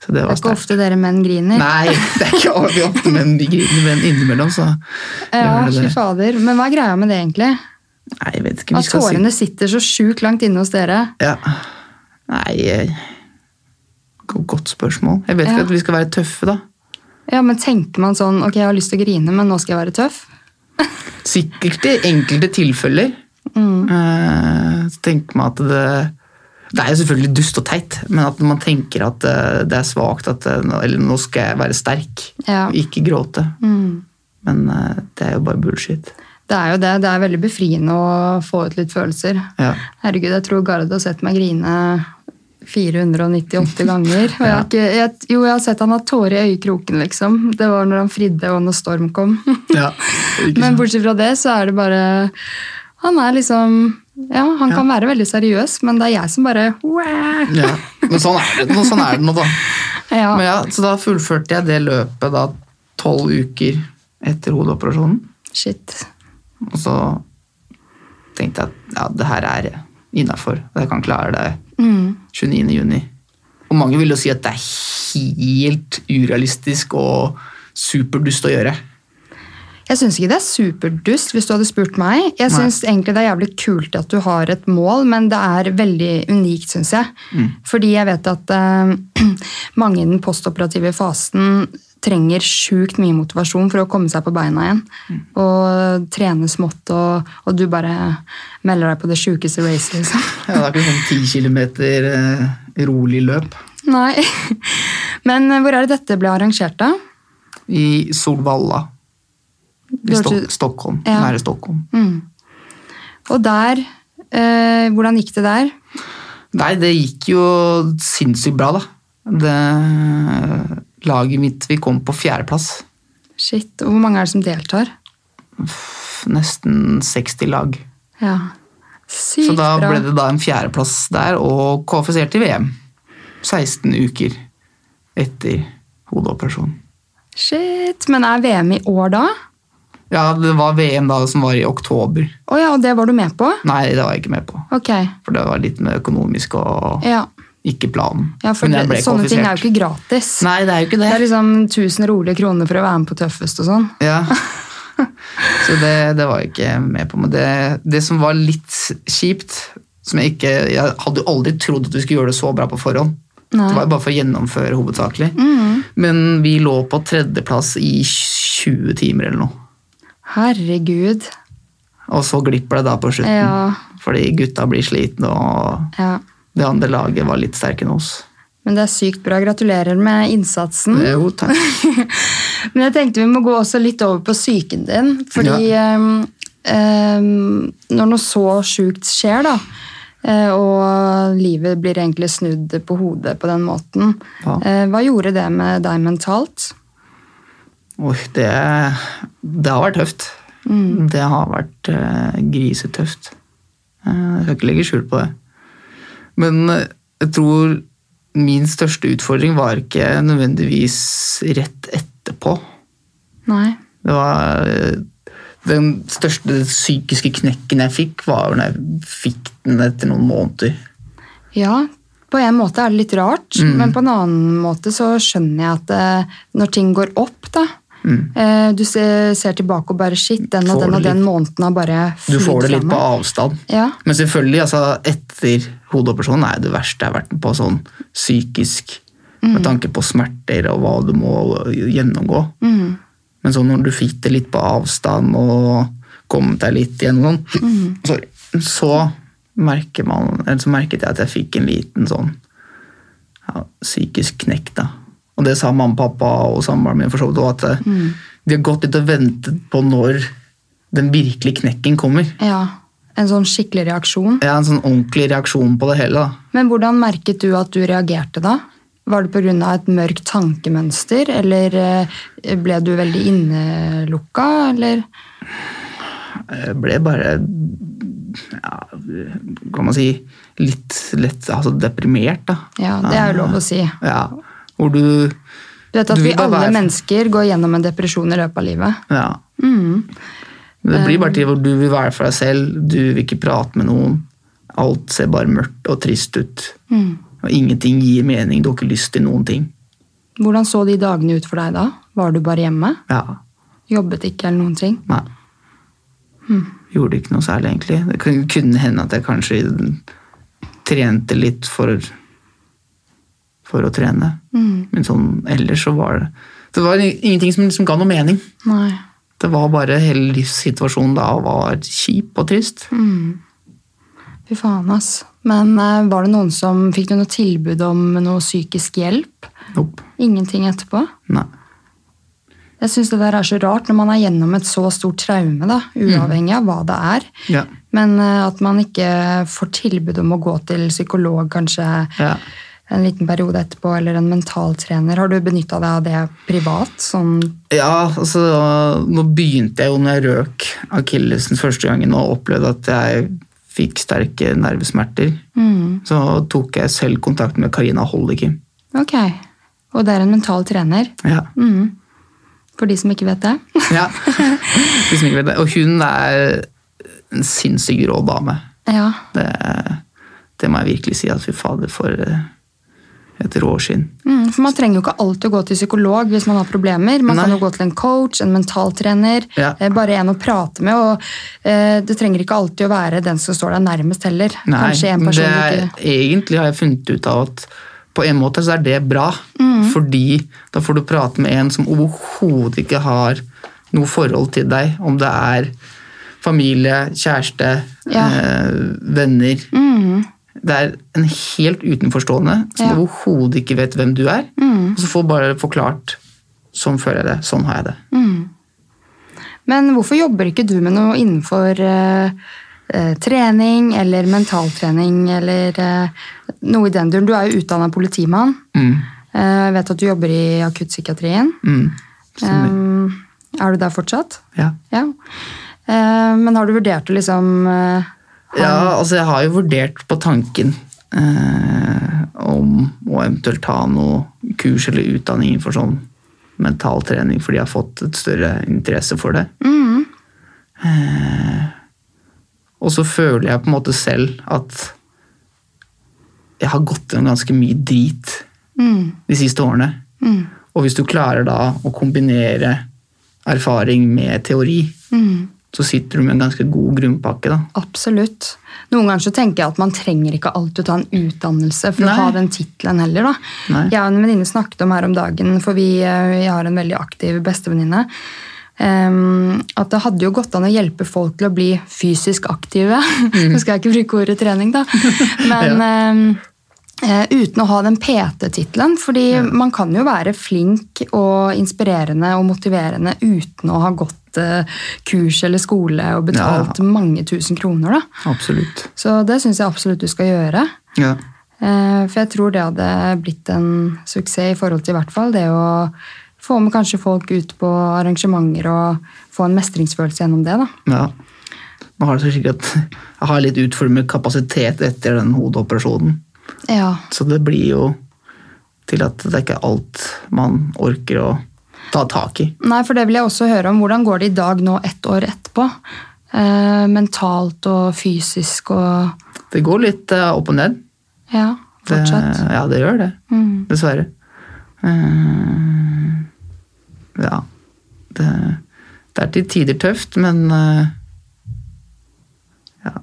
S2: så
S1: Det
S2: det var
S1: er ikke
S2: sterkt.
S1: ofte dere menn griner.
S2: Nei, det er ikke ofte, ofte, men vi griner, men innimellom, så
S1: Ja,
S2: gjør det
S1: fy
S2: det.
S1: fader. Men hva er greia med det, egentlig?
S2: Nei, jeg vet ikke. Vi
S1: At
S2: skal si
S1: tårene sitter så sjukt langt inne hos dere.
S2: ja. Nei eh, go- Godt spørsmål. Jeg vet ikke
S1: Ja.
S2: at vi skal være tøffe, da.
S1: Ja, men tenker man sånn Ok, jeg har lyst til å grine, men nå skal jeg være tøff?
S2: Sikkert i enkelte tilfeller.
S1: Mm.
S2: Eh, Så tenker man at det Det er jo selvfølgelig dust og teit, men at man tenker at eh, det er svakt, at eh, nå- eller nå skal jeg være sterk,
S1: Ja. Mm.
S2: ikke gråte. Men eh, det er jo bare bullshit.
S1: Det er jo det. Det er veldig befriende å få ut litt følelser.
S2: Ja.
S1: Herregud, jeg tror Gard har sett meg grine 498 ganger. Og jeg har ikke, jeg, jo, jeg har sett han ha tårer i øyekroken, liksom. Det var når han fridde og når storm kom.
S2: Ja,
S1: Men bortsett fra det, så er det bare Han er liksom Ja, han kan være veldig seriøs, men det er jeg som bare Wæ!
S2: Ja. Men sånn er det, sånn er det nå, da.
S1: Ja.
S2: Men ja, så da fullførte jeg det løpet da tolv uker etter hodeoperasjonen.
S1: Shit.
S2: Og så tenkte jeg at ja, det her er innafor. Jeg kan klare det
S1: Mm.
S2: 29. juni. Og mange vil jo si at det er helt urealistisk og superdust å gjøre.
S1: Jeg syns ikke det er superdust, hvis du hadde spurt meg. Jeg
S2: Nei.
S1: syns egentlig det er jævlig kult at du har et mål, men det er veldig unikt, syns jeg.
S2: Mm.
S1: Fordi jeg vet at eh, mange i den postoperative fasen trenger sjukt mye motivasjon for å komme seg på beina igjen.
S2: Mm.
S1: Og trene smått, og, og du bare melder deg på det sjukeste racet, liksom.
S2: Ja, det er ikke sånn 10 kilometer eh, rolig løp.
S1: Nei. Men eh, hvor er det dette ble arrangert, da?
S2: I Solvalla. I
S1: Det
S2: Stok
S1: hørtes-
S2: Stockholm.
S1: Ja.
S2: Nære Stockholm.
S1: Mm. Og der eh, Hvordan gikk det der?
S2: Nei, det gikk jo sinnssykt bra, da. Det laget mitt Vi kom på fjerdeplass.
S1: Shit. Og hvor mange er det som deltar?
S2: F- Nesten 60 lag.
S1: Ja.
S2: Så
S1: Sykt
S2: da
S1: bra.
S2: ble det da en fjerdeplass der, og kvalifisert til VM. 16 uker etter hodeoperasjonen.
S1: Shit. Men er VM i år da?
S2: Ja, det var VM da som var i oktober.
S1: Å ja, og det var du med på?
S2: Nei, det var jeg ikke med på.
S1: Ok.
S2: For det var litt med økonomisk og
S1: Ja.
S2: ikke planen.
S1: ja for
S2: Men jeg
S1: det,
S2: ble
S1: sånne ting er
S2: kvalifisert.
S1: jo ikke gratis.
S2: Nei, det er jo ikke
S1: Det
S2: det.
S1: er liksom 1000 rolige kroner for å være med på Tøffest og sånn.
S2: Ja. Så det, det var jeg ikke med på. Men det, det som var litt kjipt som Jeg ikke, jeg hadde jo aldri trodd at vi skulle gjøre det så bra på forhånd.
S1: Nei.
S2: Det var jo bare for å gjennomføre hovedsakelig. Men vi lå på tredjeplass i 20 timer eller noe.
S1: Herregud.
S2: Og så glipper det da på slutten.
S1: Ja.
S2: Fordi gutta blir slitne, og
S1: Ja.
S2: det andre laget var litt sterkere enn oss. Eh,
S1: Men det er sykt bra. Gratulerer med innsatsen.
S2: Jo, takk.
S1: Men jeg tenkte vi må gå også litt over på psyken din. Fordi ehm, ehm, når noe så sjukt skjer, da, eh, og livet blir egentlig snudd på hodet på den måten,
S2: Ja.
S1: eh, hva gjorde det med deg mentalt?
S2: Oi, det, det har vært tøft. Det har vært eh, grisetøft. Eh, jeg skal ikke legge skjul på det. Men eh, jeg tror min største utfordring var ikke nødvendigvis rett etterpå.
S1: Nei.
S2: Det var eh, Den største psykiske knekken jeg fikk, var når jeg fikk den etter noen måneder.
S1: Ja, på en måte er det litt rart,
S2: Mm.
S1: men på en annen måte så skjønner jeg at eh, når ting går opp, da eh, Du ser, ser tilbake og bare shit, den og
S2: Mm. Får
S1: den og
S2: det
S1: den måneden har bare
S2: Du får
S1: flydd
S2: det
S1: fra
S2: litt på
S1: meg.
S2: avstand.
S1: Ja.
S2: Men selvfølgelig, altså, etter hodeoperasjonen er det verste jeg har vært med på sånn psykisk, med tanke på smerter og hva du må gjennomgå. Men så når du fikk det litt på avstand og kom deg litt gjennom, sorry, så, merker man, eller så merket jeg at jeg fikk en liten sånn ja, psykisk knekk. da. Og det sa mamma og pappa og samboeren min for så vidt òg, at eh, de har gått litt og ventet på når den virkelige knekken kommer.
S1: ja. En sånn skikkelig reaksjon.
S2: Ja, en sånn ordentlig reaksjon på det hele. da.
S1: Men hvordan merket du at du reagerte da? Var det pga. et mørkt tankemønster, eller eh, ble du veldig innelukka, eller
S2: Jeg Eh, ble bare ja, kan man si litt lett altså deprimert, da.
S1: Ja, det er jo lov å si.
S2: Ja, Hvor du
S1: Du vet at
S2: Du vil
S1: vi
S2: bare
S1: alle
S2: være-
S1: mennesker går gjennom en depresjon i løpet av livet. Mm,
S2: Ja. Det blir bare til hvor du vil være for deg selv, du vil ikke prate med noen. Alt ser bare mørkt og trist ut.
S1: mm.
S2: Og ingenting gir mening, du har ikke lyst til noen ting.
S1: Hvordan så de dagene ut for deg da? Var du bare hjemme?
S2: Ja,
S1: Jobbet ikke eller noen ting?
S2: Nei. Hm. Gjorde ikke noe særlig, egentlig. Det kun- kunne hende at jeg kanskje trente litt for, for å trene.
S1: Mm,
S2: Men sånn ellers så var det Det var ingenting som liksom ga noe mening.
S1: Nei.
S2: Det var bare hele livssituasjonen da var kjip og trist.
S1: Fy faen, ass. Men eh, var det noen som fikk du noe tilbud om noe psykisk hjelp?
S2: Nope.
S1: Ingenting etterpå?
S2: Nei.
S1: Jeg syns det der er så rart når man er gjennom et så stort traume, da, uavhengig av hva det er.
S2: Ja.
S1: Men eh, at man ikke får tilbud om å gå til psykolog, kanskje.
S2: Ja.
S1: Eh, en liten periode etterpå, eller en mentaltrener. Har du benytta deg av det privat? Sånn,
S2: Ja, altså Nå begynte jeg jo når jeg røk akillesen første gangen og opplevde at jeg fikk sterke nervesmerter.
S1: mm,
S2: Så tok jeg selv kontakt med Karina Holdikim.
S1: ok. Og det er en mental trener, Mm.
S2: Ja.
S1: for de som ikke vet det.
S2: ja. Hvis ikke vet det. Og hun er en sinnssykt rå dame.
S1: ja.
S2: Det, det må jeg virkelig si. At fy fader, for eh, et råskinn.
S1: Mm, for Man trenger jo ikke alltid å gå til psykolog hvis man har problemer. Man kan
S2: Nei.
S1: jo gå til en coach, en mentaltrener,
S2: Ja.
S1: eh, bare en å prate med. og eh, Det trenger ikke alltid å være den som står deg nærmest heller. Kanskje en person du
S2: det er,
S1: ikke
S2: egentlig har jeg funnet ut av at på en måte så er det bra,
S1: Mm.
S2: fordi da får du prate med en som overhodet ikke har noe forhold til deg, om det er familie, kjæreste,
S1: Ja. Mm.
S2: eh, venner. Det er en helt utenforstående som
S1: Ja. Mm.
S2: overhodet ikke vet hvem du er, og så får bare forklart sånn føler jeg det, sånn har jeg det.
S1: Men hvorfor jobber ikke du med noe innenfor eh, eh, trening eller mentaltrening eller eh, noe i den duren? Du er jo utdanna politimann.
S2: Mm.
S1: Eh, jeg vet at du jobber i akuttpsykiatrien.
S2: Mm.
S1: Eh, er du der fortsatt?
S2: Ja.
S1: Ja. Eh, men har du vurdert å liksom eh,
S2: Ja, altså jeg har jo vurdert på tanken eh, om å eventuelt ta noe kurs eller utdanning for sånn mental trening, fordi jeg har fått et større interesse for det.
S1: 嗯
S2: Eh, og så føler jeg på en måte selv at jeg har gått gjennom ganske mye drit
S1: mm,
S2: de siste årene.
S1: mm,
S2: Og hvis du klarer da å kombinere erfaring med teori,
S1: mm,
S2: så sitter du med en ganske god grunnpakke, da.
S1: Absolutt. Noen ganger så tenker jeg at man trenger ikke alltid å ta en utdannelse for
S2: Nei.
S1: å ha den tittelen heller. da.
S2: Nei.
S1: Jeg og en venninne snakket om her om dagen, for vi, eh, jeg har en veldig aktiv bestevenninne. ehm, at det hadde jo gått an å hjelpe folk til å bli fysisk aktive.
S2: Mm.
S1: Nå skal jeg ikke bruke ordet trening, da. Men ehm, eh, uten å ha den PT-tittelen. Fordi man kan jo være flink og inspirerende og motiverende uten å ha gått eh, kurs eller skole og betalt mange tusen kroner. da.
S2: Absolutt.
S1: Så det syns jeg absolutt du skal gjøre.
S2: Ja.
S1: Eh, For jeg tror det hadde blitt en suksess i forhold til i hvert fall det å få med kanskje folk ut på arrangementer og få en mestringsfølelse gjennom det. da.
S2: Ja. Man har det så sikkert at jeg har litt utformet kapasitet etter den hodeoperasjonen.
S1: Ja,
S2: Så det blir jo til at det er ikke alt man orker å ta tak i.
S1: Nei, for det vil jeg også høre om. Hvordan går det i dag nå ett år etterpå? Eh, mentalt og fysisk og
S2: Det går litt eh, opp og ned.
S1: Ja,
S2: Det,
S1: fortsatt.
S2: ja, det gjør det.
S1: Mm.
S2: Dessverre. Eh, ja. Det, det er til tider tøft, men eh, ja.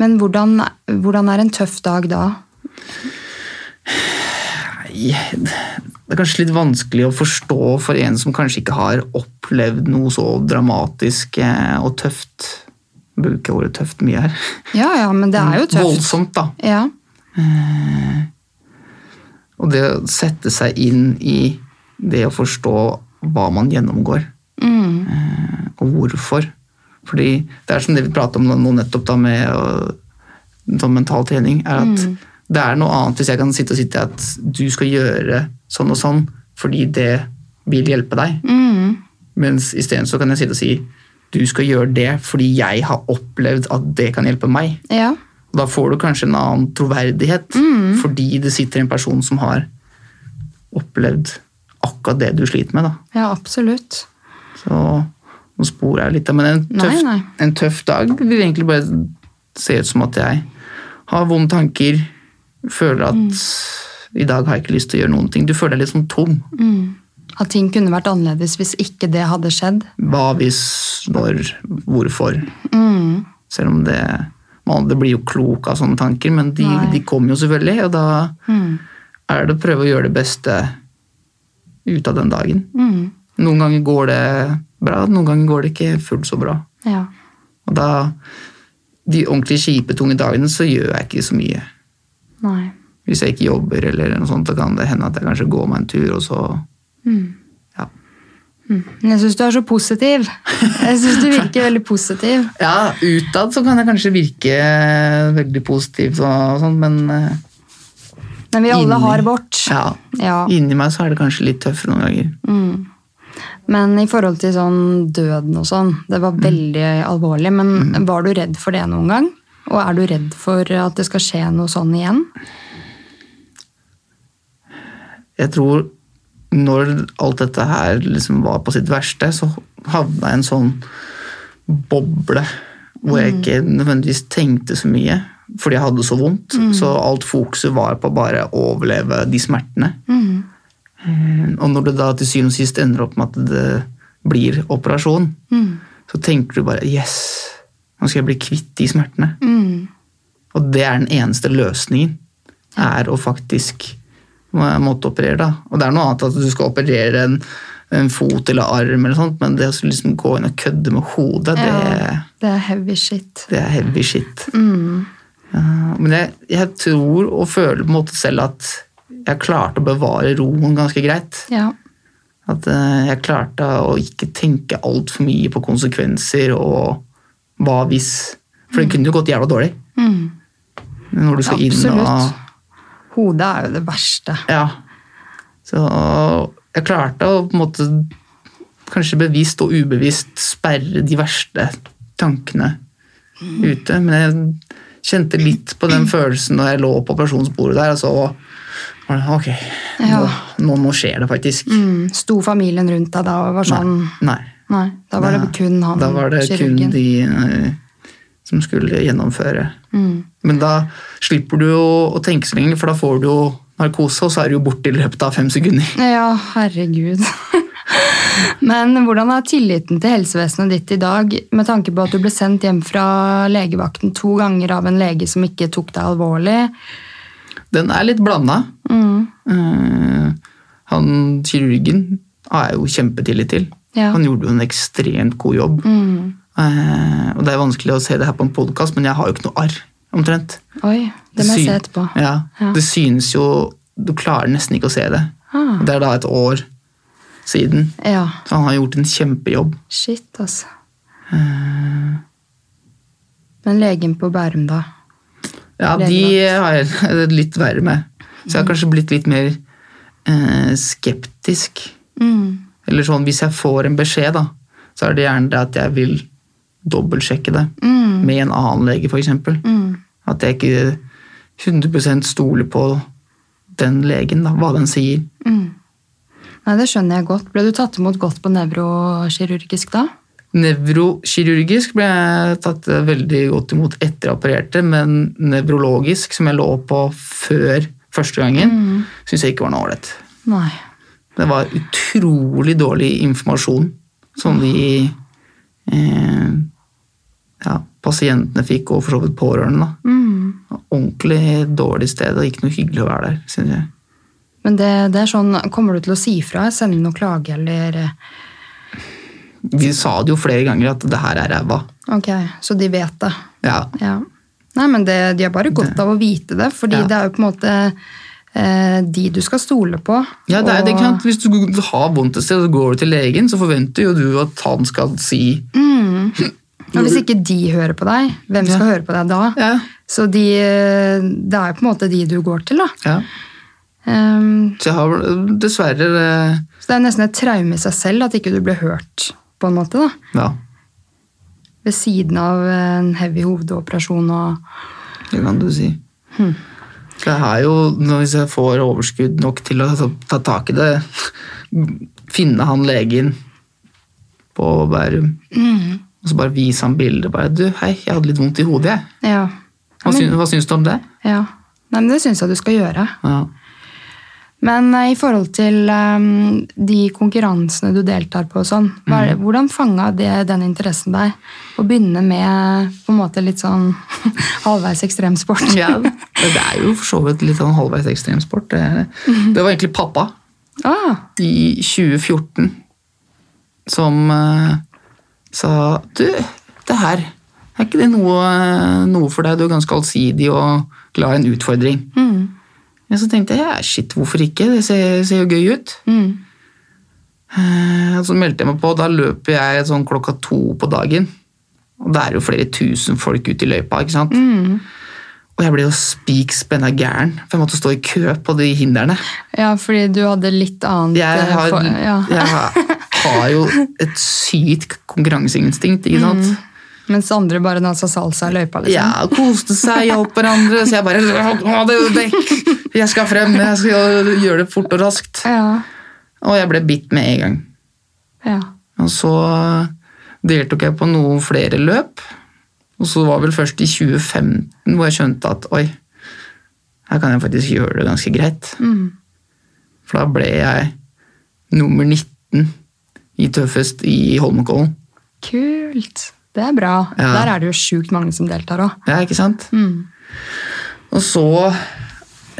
S1: Men hvordan, hvordan er en tøff dag da?
S2: Nei, det er kanskje litt vanskelig å forstå for en som kanskje ikke har opplevd noe så dramatisk eh, og tøft. Jeg bruker ordet tøft mye her.
S1: Ja ja, men det er jo tøft.
S2: Voldsomt, da.
S1: Ja.
S2: Og det å sette seg inn i det å forstå hva man gjennomgår,
S1: Mm.
S2: eh, og hvorfor. Fordi det er som det vi prater om nå nettopp da med å- sånn mental trening, er at
S1: Mm.
S2: det er noe annet hvis jeg kan sitte og sitte at du skal gjøre sånn og sånn fordi det vil hjelpe deg.
S1: Mm.
S2: Mens isteden så kan jeg sitte og si du skal gjøre det fordi jeg har opplevd at det kan hjelpe meg.
S1: Ja.
S2: Og da får du kanskje en annen troverdighet
S1: Mm.
S2: fordi det sitter en person som har opplevd akkurat det du sliter med. Da.
S1: ja, absolutt.
S2: Så nå sporer jeg litt, da, men en
S1: Nei,
S2: tøff,
S1: nei.
S2: en tøff dag vil egentlig bare se ut som at jeg har vonde tanker, føler at
S1: Mm.
S2: i dag har jeg ikke lyst til å gjøre noen ting. Du føler deg litt sånn tom.
S1: Mm. At ting kunne vært annerledes hvis ikke det hadde skjedd.
S2: Hva hvis, når, hvorfor.
S1: Mm.
S2: Selv om det Man det blir jo klok av sånne tanker, men de,
S1: Nei.
S2: de kommer jo selvfølgelig. Og da
S1: Mm.
S2: er det å prøve å gjøre det beste ut av den dagen.
S1: Mm.
S2: Noen ganger går det bra, noen ganger går det ikke fullt så bra.
S1: Ja.
S2: Og da De ordentlig kjipe, tunge dagene, så gjør jeg ikke så mye.
S1: Nei.
S2: Hvis jeg ikke jobber eller noe sånt, da kan det hende at jeg kanskje går meg en tur, og så Ja.
S1: Mm. Men jeg syns du er så positiv. Jeg syns du virker veldig positiv.
S2: Ja, utad så kan jeg kanskje virke veldig positivt og sånn, men eh,
S1: Men vi alle
S2: Inni.
S1: har vårt.
S2: Ja.
S1: Ja. Mm.
S2: Inni meg så er det kanskje litt tøffere noen ganger.
S1: Men i forhold til sånn døden og sånn, det
S2: Mm.
S1: var veldig alvorlig. Men var du redd for det noen gang? Og er du redd for at det skal skje noe sånn igjen?
S2: Jeg tror når alt dette her liksom var på sitt verste, så havna jeg i en sånn boble hvor jeg ikke nødvendigvis tenkte så mye. Fordi jeg hadde så vondt. Så alt fokuset var på bare å overleve de smertene. Mm. Eh, Og når det da til syvende og sist ender opp med at det blir operasjon,
S1: Mm.
S2: så tenker du bare 'yes, nå skal jeg bli kvitt de smertene'.
S1: Mm.
S2: Og det er den eneste løsningen. Er å faktisk måtte operere, da. Og det er noe annet at du skal operere en, en fot eller arm, eller sånt, men det å liksom gå inn og kødde med hodet,
S1: Ja,
S2: det,
S1: det er heavy shit. Mm.
S2: det er heavy shit. Ja, men jeg, jeg tror og føler på en måte selv at jeg klarte å bevare roen ganske greit.
S1: Ja.
S2: At eh, jeg klarte å ikke tenke altfor mye på konsekvenser og hva hvis. For
S1: Mm.
S2: det kunne jo gått jævla dårlig. Når du skal inn og
S1: Absolutt. Hodet er jo det verste.
S2: Ja. Så jeg klarte å på en måte kanskje bevisst og ubevisst sperre de verste tankene ute. Men jeg kjente litt på den følelsen når jeg lå på operasjonsbordet der, og så var det ok, nå, nå, nå skjer det faktisk.
S1: Mm. Sto familien rundt deg da og var sånn Nei,
S2: Nei.
S1: da var det
S2: Nei.
S1: kun han
S2: Da var det kun de eh, som skulle gjennomføre.
S1: Mm.
S2: Men da slipper du jo å tenke så lenge, for da får du jo narkose, og så er du jo borte i løpet av fem sekunder.
S1: Ja, herregud. Men hvordan er tilliten til helsevesenet ditt i dag, med tanke på at du ble sendt hjem fra legevakten to ganger av en lege som ikke tok deg alvorlig?
S2: Den er litt blanda.
S1: Mm.
S2: Eh, han kirurgen har jeg jo kjempetillit til.
S1: Ja. Mm.
S2: Han gjorde jo en ekstremt god jobb. Eh, og det er vanskelig å se det her på en podkast, men jeg har jo ikke noe arr, omtrent.
S1: Oi, det må jeg se
S2: syn-
S1: etterpå.
S2: Ja.
S1: Ja.
S2: Det synes jo Du klarer nesten ikke å se det.
S1: Ah.
S2: Det er da et år siden.
S1: Ja,
S2: Så han har gjort en kjempejobb.
S1: shit, altså.
S2: Eh.
S1: Men legen på Bærum, da?
S2: Ja, de har jeg det litt verre med. Så jeg
S1: Mm.
S2: har kanskje blitt litt mer eh, skeptisk.
S1: Mm.
S2: Eller sånn, hvis jeg får en beskjed, da, så er det gjerne det at jeg vil dobbeltsjekke det
S1: Mm.
S2: med en annen lege, f.eks.
S1: Mm.
S2: At jeg ikke 100 stoler på den legen, da, hva den sier.
S1: Mm. Nei, det skjønner jeg godt. Ble du tatt imot godt på nevrokirurgisk da?
S2: Nevrokirurgisk ble jeg tatt veldig godt imot etter jeg opererte, men nevrologisk, som jeg lå på før første gangen, syns jeg ikke var noe ålreit.
S1: Nei.
S2: Det var utrolig dårlig informasjon som de eh, ja, pasientene fikk, og for så vidt pårørende. Da.
S1: Mm.
S2: Ordentlig dårlig sted, og ikke noe hyggelig å være der. Synes jeg.
S1: Men det, det er sånn, kommer du til å si fra? Sende noe klage, eller
S2: De sa det jo flere ganger at det her er ræva.
S1: Ok, så de vet det.
S2: Ja,
S1: Ja. Nei, men det, de har bare godt av å vite det, fordi
S2: Ja.
S1: det er jo på en måte eh, de du skal stole på.
S2: ja det er det,
S1: og-
S2: ikke sant? Hvis du har vondt et sted, og så går du til legen, så forventer jo du at han skal si
S1: Mm. Og hvis ikke de hører på deg, hvem skal høre på deg da?
S2: Ja.
S1: Så de, eh, det er jo på en måte de du går til, da.
S2: ja.
S1: Ehm,
S2: Så jeg har vel dessverre eh,
S1: så det er nesten et traume i seg selv at ikke du ble hørt, på en måte, da.
S2: Ja,
S1: Ved siden av en heavy hovedoperasjon og
S2: det kan du si. Så jeg har jo, nå hvis jeg får overskudd nok til å ta- ta tak i det, finne han legen på Bærum,
S1: Mm,
S2: og så bare vise han bildet. Bare, du, hei, jeg hadde litt vondt i hodet, jeg.
S1: Ja.
S2: Hva, syns, hva syns du om det?
S1: ja. Nei, men det syns jeg du skal gjøre.
S2: Ja.
S1: Men eh, i forhold til eh, de konkurransene du deltar på og sånn, hva
S2: Mm.
S1: er det- hvordan fanga det den interessen deg? Å begynne med på en måte litt sånn halvveis ekstremsport?
S2: Ja, det er jo for så vidt litt sånn halvveis ekstremsport. Det, er det. det var egentlig pappa
S1: Ah,
S2: i 2014 som eh, sa Du, det her, er ikke det noe, eh, noe for deg? Du er ganske allsidig og glad i en utfordring.
S1: mm,
S2: Men så tenkte jeg ja, shit, hvorfor ikke? Det ser, ser jo gøy ut.
S1: mm,
S2: Eh, Så meldte jeg meg på, og da løper jeg sånn klokka to på dagen. Og det er jo flere tusen folk ute i løypa, ikke sant?
S1: mm,
S2: Og jeg ble jo spik spenna gæren, for jeg måtte stå i kø på de hindrene.
S1: Ja, fordi du hadde litt annet
S2: Jeg
S1: eh,
S2: har,
S1: for- ja.
S2: jeg har, har jo et sykt konkurranseinstinkt, ikke sant.
S1: Mens andre bare dansa salsa i løypa.
S2: Mm. Ja,
S1: liksom.
S2: koste seg, hjalp hverandre. Så jeg bare Ha det vekk! Jeg skal frem, jeg skal gjøre det fort og raskt.
S1: Ja.
S2: Og jeg ble bitt med en gang.
S1: ja.
S2: Og så deltok jeg på noen flere løp. Og så var vel først i 2015 hvor jeg skjønte at oi, her kan jeg faktisk gjøre det ganske greit.
S1: Mm.
S2: For da ble jeg nummer 19 i tøffest i Holmenkollen.
S1: Kult. Det er bra.
S2: Ja.
S1: Der er det jo sjukt mange som deltar òg.
S2: Ja, ikke sant? Og så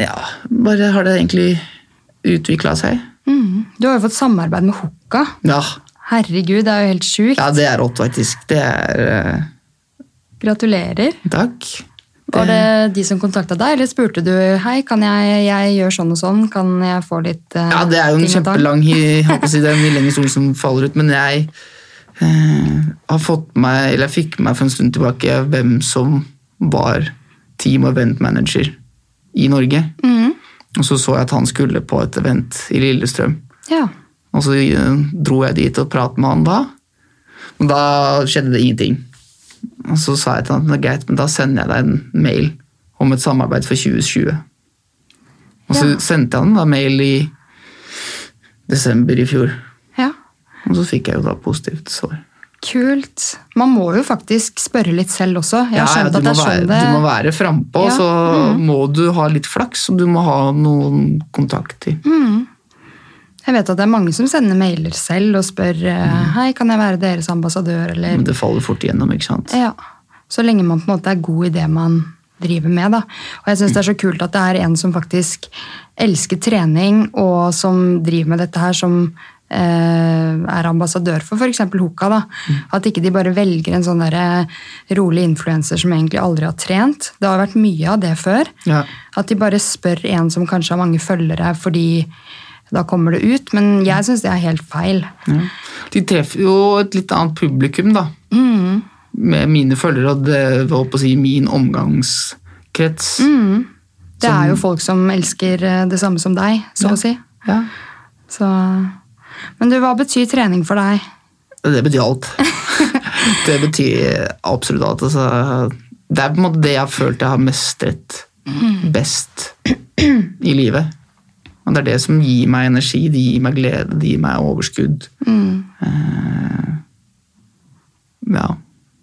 S2: ja, bare har det egentlig utvikla seg.
S1: Mm. Du har jo fått samarbeid med Hukka.
S2: Ja,
S1: Herregud, det er jo helt sjukt.
S2: ja, det er rått, faktisk. Det er eh,
S1: Gratulerer.
S2: Takk.
S1: Var
S2: Eh.
S1: det de som kontakta deg, eller spurte du hei, kan jeg, jeg gjør sånn og sånn, kan jeg få litt eh,
S2: Ja, det er jo en
S1: ting og tang?»
S2: kjempelang hi- jeg holdt på å si, det er mye lengre historie som faller ut, men jeg eh, har fått meg, eller jeg fikk meg for en stund tilbake hvem som var team og event manager i Norge.
S1: Mhm.
S2: Og så så jeg at han skulle på et event i Lillestrøm.
S1: Ja.
S2: Og så eh, dro jeg dit og pratet med han da. Men da skjedde det ingenting. Og så sa jeg til han, det er greit, men da sender jeg deg en mail om et samarbeid for 2020. Og så
S1: Ja.
S2: sendte jeg han da mail i desember i fjor.
S1: ja.
S2: Og så fikk jeg jo da positivt svar.
S1: Kult. Man må jo faktisk spørre litt selv også. Jeg har
S2: Ja, ja,
S1: skjønt
S2: du
S1: at det er
S2: må være-
S1: sånn det
S2: Du må være frampå,
S1: Ja, Mm.
S2: så må du ha litt flaks, og du må ha noen kontakter.
S1: Mm. Jeg vet at det er mange som sender mailer selv og spør
S2: Mm.
S1: eh, hei, kan jeg være deres ambassadør, eller
S2: Men det faller fort igjennom, ikke sant?
S1: Ja. Så lenge man på en måte er god i det man driver med, da. Og jeg syns det er så kult at det er en som faktisk elsker trening, og som driver med dette her, som eh, er ambassadør for f.eks. Hoka. da. At ikke de bare velger en sånn derre rolig influenser som egentlig aldri har trent. Det har vært mye av det før.
S2: Ja.
S1: At de bare spør en som kanskje har mange følgere, fordi da kommer det ut. Men jeg syns det er helt feil.
S2: Ja. De treffer jo et litt annet publikum, da. Med mine følgere og det, hva holdt på å si, min omgangskrets.
S1: Mm. Det er jo folk som elsker eh, det samme som deg, så å si.
S2: Ja.
S1: Så... Men du, hva betyr trening for deg?
S2: Det betyr alt. det betyr absolutt alt. Altså, det er på en måte det jeg har følt jeg har mestret best i livet. Og det er det som gir meg energi, det gir meg glede, det gir meg overskudd. Eh, ja.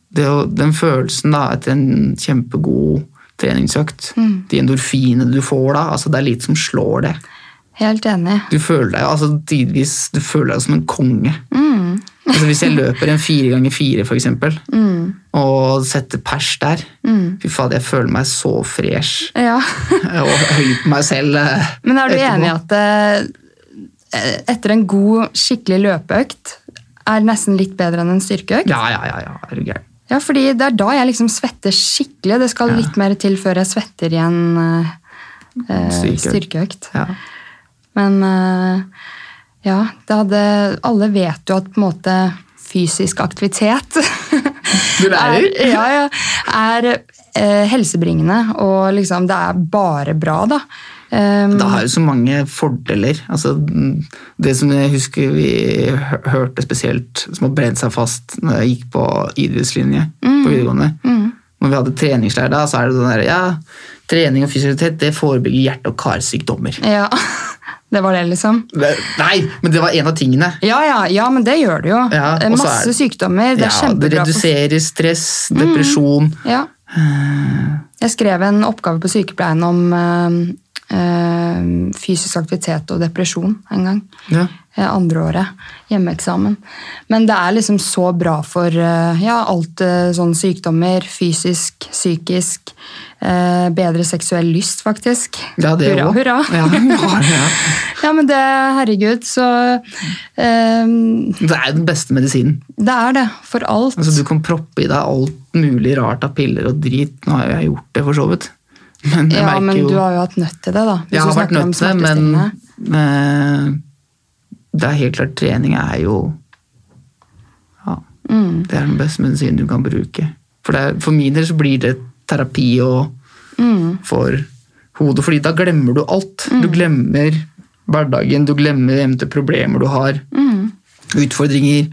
S2: Det, å- den følelsen da, etter en kjempegod treningsøkt, de endorfinene du får da, altså det er lite som slår det.
S1: Helt enig.
S2: Du føler deg altså, tidvis du føler deg som en konge. altså, hvis jeg løper en fire ganger fire, for eksempel, og setter pers der, fy fader, jeg føler meg så fresh eh,
S1: Ja.
S2: og høy på meg selv. eh,
S1: Men er du
S2: etterpå.
S1: enig i at eh, etter en god, skikkelig løpeøkt er nesten litt bedre enn en styrkeøkt?
S2: Ja, ja, ja. ja, er du gæren.
S1: Ja, fordi det er da jeg liksom svetter skikkelig. Det skal litt mer til før jeg svetter i en eh, eh,
S2: Styrkeøkt.
S1: styrkeøkt.
S2: Ja.
S1: Men eh, ja, det hadde Alle vet jo at på en måte fysisk aktivitet
S2: Du lærer.
S1: Er, ja, ja, er eh, helsebringende, og liksom det er bare bra, da. Um,
S2: Det har jo så mange fordeler. Altså, mm, det som jeg husker vi hø- hørte spesielt, som har brent seg fast når jeg gikk på idrettslinje
S1: Mm.
S2: på videregående. Når vi hadde treningsleir da, så er det sånn der, ja, trening og fysioterapeut, det forebygger hjerte- og karsykdommer.
S1: Ja, det var det, liksom.
S2: Det- Nei, men det var en av tingene.
S1: Ja, ja, ja, men det gjør det jo.
S2: Ja,
S1: Eh,
S2: og så
S1: Masse
S2: er-
S1: sykdommer. Det er
S2: Ja, det
S1: kjempebra. for- Mm.
S2: reduserer stress, depresjon.
S1: Ja.
S2: Eh.
S1: Jeg skrev en oppgave på sykepleien om eh, eh, fysisk aktivitet og depresjon en gang.
S2: Ja.
S1: Eh, Andre året. Hjemmeeksamen. Men det er liksom så bra for eh, ja, alt eh, sånn sykdommer. Fysisk, psykisk. eh, Bedre seksuell lyst, faktisk.
S2: Ja, det
S1: hurra,
S2: også.
S1: hurra.
S2: Ja, ja, ja.
S1: Ja, men det, herregud, så eh,
S2: Det er jo den beste medisinen.
S1: Det er det. For alt.
S2: Altså, du kan proppe i deg alt mulig rart av piller og drit. Nå har jo jeg gjort det, for så vidt. Men jeg
S1: Ja,
S2: merker
S1: men
S2: jo
S1: du har jo hatt nødt til det, da. hvis du
S2: Jeg har vært
S1: snakker om
S2: nødt til det, men
S1: smertestillende.
S2: eh, det er helt klart trening er jo ja,
S1: Mm.
S2: Det er den beste medisinen du kan bruke. For, det er, for min del så blir det terapi og
S1: Mm.
S2: for hodet. fordi da glemmer du alt. Du glemmer hverdagen, du glemmer eventuelle problemer du har.
S1: Mm.
S2: Utfordringer.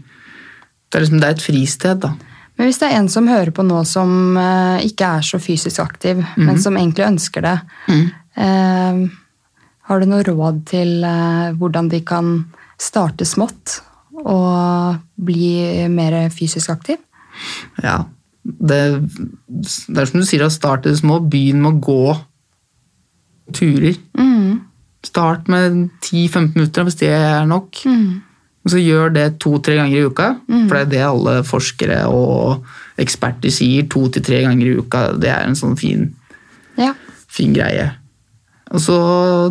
S2: Det er, liksom, det er et fristed, da.
S1: Men hvis det er en som hører på nå som eh, ikke er så fysisk aktiv,
S2: Mhm.
S1: men som egentlig ønsker det, eh, har du noe råd til eh, hvordan de kan starte smått og bli mer fysisk aktiv?
S2: Ja. Det, det er som du sier, å starte små. Begynn med å gå turer. Mhm. Start med 10-15 minutter hvis det er nok. Og så gjør det to-tre ganger i uka. For det er det alle forskere og eksperter sier. To til tre ganger i uka, det er en sånn fin,
S1: Ja.
S2: fin greie. Og så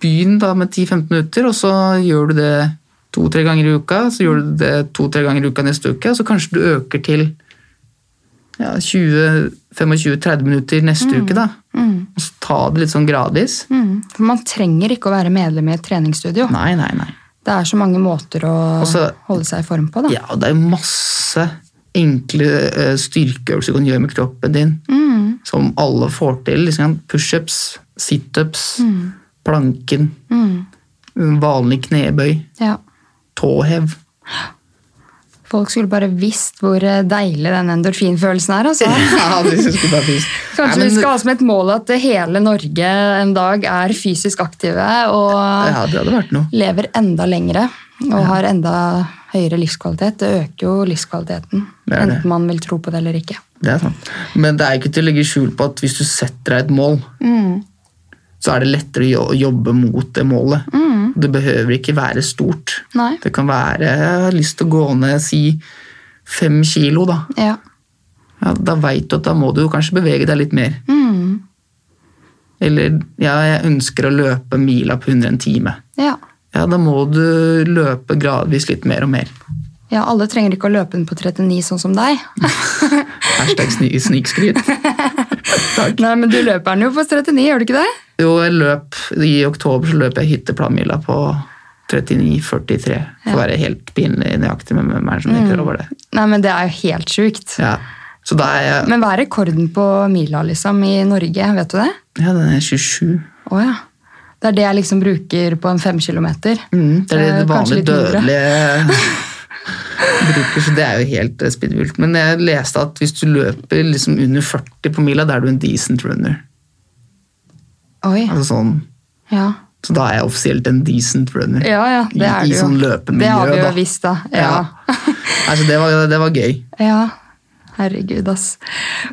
S2: begynn da med 10-15 minutter, og så gjør du det to-tre ganger i uka. Så gjør du det to-tre ganger i uka neste uke, og så kanskje du øker til ja, 20-25-30 minutter neste uke, da. Og så ta det litt sånn gradvis.
S1: Mm. For man trenger ikke å være medlem i et treningsstudio.
S2: Nei, nei, nei.
S1: Det er så mange måter å
S2: så-
S1: holde seg i form på. Da.
S2: Ja, og det er jo masse enkle eh, styrkeøvelser du kan gjøre med kroppen din, som alle får til. Liksom Pushups, situps, planken, vanlig knebøy,
S1: Ja.
S2: tåhev.
S1: Folk skulle bare visst hvor eh, deilig den endorfinfølelsen er. Altså.
S2: Ja, det synes jeg bare fint.
S1: Kanskje
S2: Nei, men-
S1: vi skal ha som et mål at hele Norge en dag er fysisk aktive og
S2: Ja, det hadde vært noe.
S1: lever enda lengre og har enda høyere livskvalitet. Det øker jo livskvaliteten,
S2: Det er det.
S1: enten man vil tro på det eller ikke.
S2: Det er sant. Men det er ikke til å legge skjul på at hvis du setter deg et mål, så er det lettere å jo- å jobbe mot det målet. Det behøver ikke være stort.
S1: Mm. Nei.
S2: Det kan være jeg har lyst til å gå ned si fem kilo, da.
S1: Ja.
S2: Ja, da veit du at da må du kanskje bevege deg litt mer.
S1: Mm.
S2: Eller ja, jeg ønsker å løpe mila på under en time.
S1: Ja.
S2: Ja, da må du løpe gradvis litt mer og mer.
S1: ja, alle trenger ikke å løpe den på 39 sånn som deg.
S2: Hashtag sni- snikskryt. Takk.
S1: Nei, men du løper den jo på 39, gjør du ikke det?
S2: Jo, jeg løp, I oktober så løp jeg hytteplanmila på 39,43. For å være helt pinlig nøyaktig med hvem er
S1: Mm.
S2: det som heter over det.
S1: Nei, men det er jo helt sjukt.
S2: Ja. Så da er jeg
S1: Men hva er rekorden på mila liksom, i Norge, vet du det?
S2: ja, den er 27.
S1: Å ja. Det er det jeg liksom bruker på en fem kilometer.
S2: Mm, det er det,
S1: Eh, kanskje
S2: vanlige
S1: litt mindre.
S2: dødelige bruker, så det er jo helt eh, spinnvilt. Men jeg leste at hvis du løper liksom under 40 på mila, da er du en decent runner.
S1: Oi,
S2: Altså sånn,
S1: ja.
S2: så da er jeg offisielt en decent runner.
S1: Ja, ja, det
S2: I-
S1: er
S2: I
S1: det jo.
S2: sånn løpemiljø,
S1: Det har vi jo
S2: da.
S1: visst, da.
S2: Ja.
S1: Ja.
S2: Nei, så det, var, det var gøy.
S1: Ja, herregud, ass.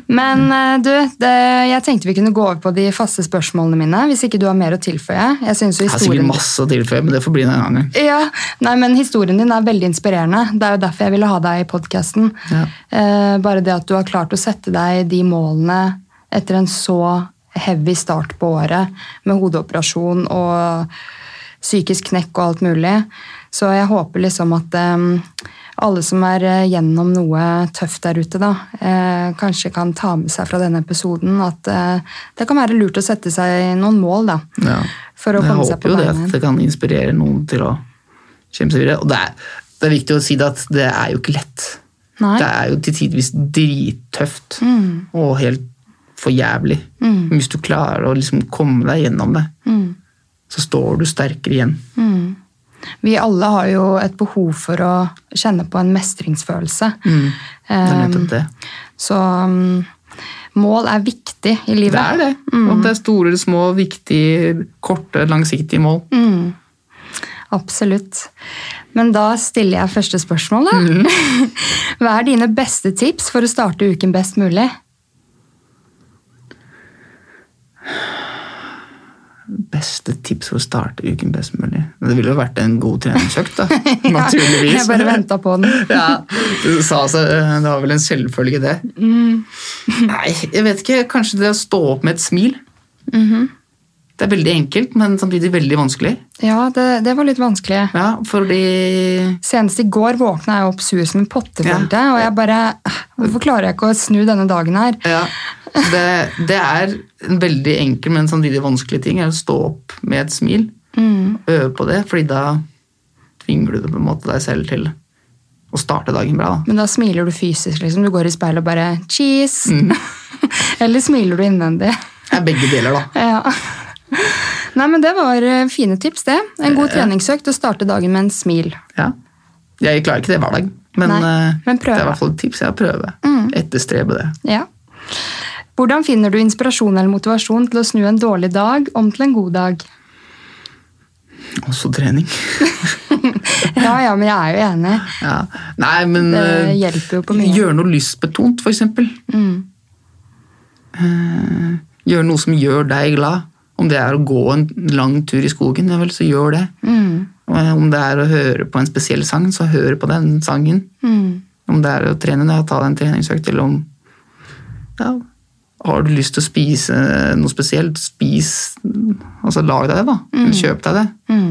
S1: Men
S2: Mm.
S1: eh, du, det, jeg tenkte vi kunne gå over på de faste spørsmålene mine, hvis ikke du har mer å tilføye. Jeg synes jo
S2: Jeg har sikkert
S1: historien...
S2: masse å tilføye, men det får bli en annen gang.
S1: Ja, nei, men historien din er veldig inspirerende. Det er jo derfor jeg ville ha deg i podcasten.
S2: Ja.
S1: Eh, bare det at du har klart å sette deg de målene etter en så heavy start på året, med hodeoperasjon og psykisk knekk og alt mulig. Så jeg håper liksom at eh, alle som er eh, gjennom noe tøft der ute, da, eh, kanskje kan ta med seg fra denne episoden at eh, det kan være lurt å sette seg noen mål, da.
S2: Ja.
S1: For å
S2: Men
S1: komme
S2: jeg
S1: seg
S2: håper
S1: på
S2: jo det
S1: beina.
S2: at det kan inspirere noen til å kjempe seg videre. Og det er, det er viktig å si det at det er jo ikke lett.
S1: Nei. Mm.
S2: Det er jo til tidvis drittøft og helt for jævlig. Men hvis du klarer å liksom komme deg gjennom det,
S1: Mm.
S2: så står du sterkere igjen.
S1: Vi alle har jo et behov for å kjenne på en mestringsfølelse.
S2: Mm. Det er
S1: Eh,
S2: nettopp det.
S1: så mm, mål er viktig i livet.
S2: Det er det.
S1: Mm.
S2: Om det er store eller små, viktige, korte, langsiktige mål.
S1: Mm. Absolutt. Men da stiller jeg første spørsmål, da.
S2: Mm.
S1: Hva er dine beste tips for å starte uken best mulig?
S2: Beste tips for å starte uken best mulig? Men Det ville jo vært en god treningsøkt, da. Naturligvis.
S1: Jeg bare venta på den.
S2: ja, du sa så, øh, det var vel en selvfølge det.
S1: Mm.
S2: Nei, jeg vet ikke. Kanskje det å stå opp med et smil.
S1: Mm-hmm.
S2: Det er veldig enkelt, men samtidig veldig vanskelig.
S1: Ja, det, det var litt vanskelig.
S2: Ja, fordi
S1: Senest i går våkna jeg opp sur som en pottefølte, og jeg bare Hvorfor klarer jeg ikke å snu denne dagen her?
S2: ja, det, det er en veldig enkel, men samtidig vanskelig ting. er å Stå opp med et smil.
S1: Mm.
S2: Øve på det, fordi da tvinger du det på en måte deg selv til å starte dagen bra. da.
S1: Men da smiler du fysisk, liksom. Du går i speilet og bare 'cheese'. Eller smiler du innvendig?
S2: Det er begge deler, da.
S1: Ja. Nei, men det var eh, fine tips, det. En god treningsøkt og starte dagen med en smil.
S2: Ja. Jeg klarer ikke det hver dag, men,
S1: Nei,
S2: eh,
S1: men prøve. Mm.
S2: det er i hvert fall et tips. Jeg prøver. Etterstrebe det.
S1: Ja. Hvordan finner du inspirasjon eller motivasjon til å snu en dårlig dag om til en god dag?
S2: Også trening.
S1: Ja, ja, men jeg er jo enig.
S2: Ja. Nei, men
S1: Det
S2: eh,
S1: hjelper jo på mye.
S2: Gjøre noe lystbetont, for eksempel.
S1: Mm,
S2: Eh, Gjøre noe som gjør deg glad. Om det er å gå en lang tur i skogen, ja vel, så gjør det.
S1: mm,
S2: Eh, Om det er å høre på en spesiell sang, så hør på den sangen.
S1: mm,
S2: Om det er å trene, ja, ta deg en treningsøkt, eller om ja, Har du lyst til å spise noe spesielt, spis Altså lag deg det, da. Eller Kjøp deg det.
S1: mm.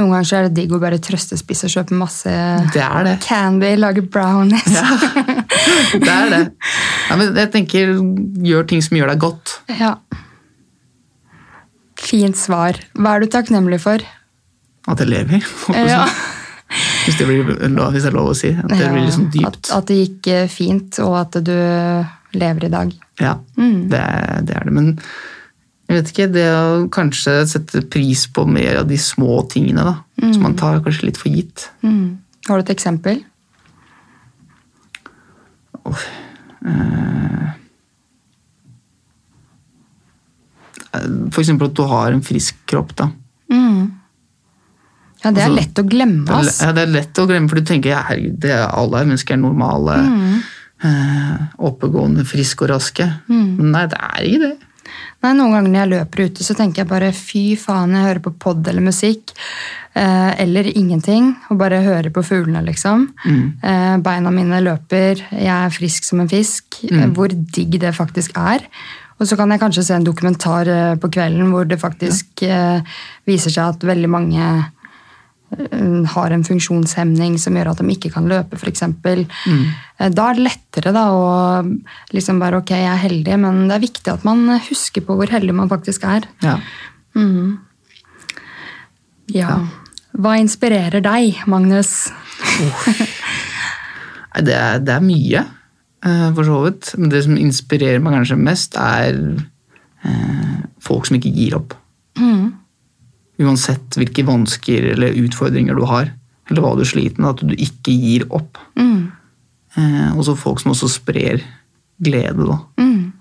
S1: Noen ganger så er det digg å bare trøstespise og kjøpe masse
S2: Det er det.
S1: candy, lage brownies.
S2: Det er det. Ja, men jeg tenker, gjør ting som gjør deg godt.
S1: Ja. Fint svar. Hva er du takknemlig for?
S2: At jeg lever. holdt jeg på å si.
S1: Ja.
S2: Hvis det blir lov, hvis det er lov å si. At det blir liksom dypt.
S1: At, at det gikk eh, fint, og at du lever i dag.
S2: Ja, det, er- det er det. Men jeg vet ikke, det å kanskje sette pris på mer av de små tingene, da. Som man tar kanskje litt for gitt.
S1: Har du et eksempel?
S2: For eksempel at du har en frisk kropp, da.
S1: Ja, det er
S2: Mm. Altså,
S1: lett å
S2: Det
S1: glemme,
S2: er,
S1: ass.
S2: ja, det er lett å glemme, for du tenker ja, herregud, det er alle her mennesker er normale, eh, oppegående, friske og raske. Men nei, det er ikke det.
S1: Nei, Noen ganger når jeg løper ute, så tenker jeg bare fy faen, jeg hører på pod eller musikk. Eh, eller ingenting. Og bare hører på fuglene, liksom. Eh, beina mine løper, jeg er frisk som en fisk. Eh, Hvor digg det faktisk er. Og så kan jeg kanskje se en dokumentar eh, på kvelden hvor det faktisk eh, viser seg at veldig mange eh, har en funksjonshemning som gjør at de ikke kan løpe, f.eks. Mm. Da er det lettere da, å liksom bare ok, jeg er heldig, men det er viktig at man husker på hvor heldig man faktisk er.
S2: Ja.
S1: Ja. Hva inspirerer deg, Magnus?
S2: Nei, det er, det er mye, eh, for så vidt. Men det som inspirerer meg kanskje mest, er eh, folk som ikke gir opp.
S1: Mm,
S2: Uansett hvilke vansker eller utfordringer du har, eller hva du er sliten med, at du ikke gir opp.
S1: mm,
S2: Eh, og så folk som også sprer glede, da.
S1: mm.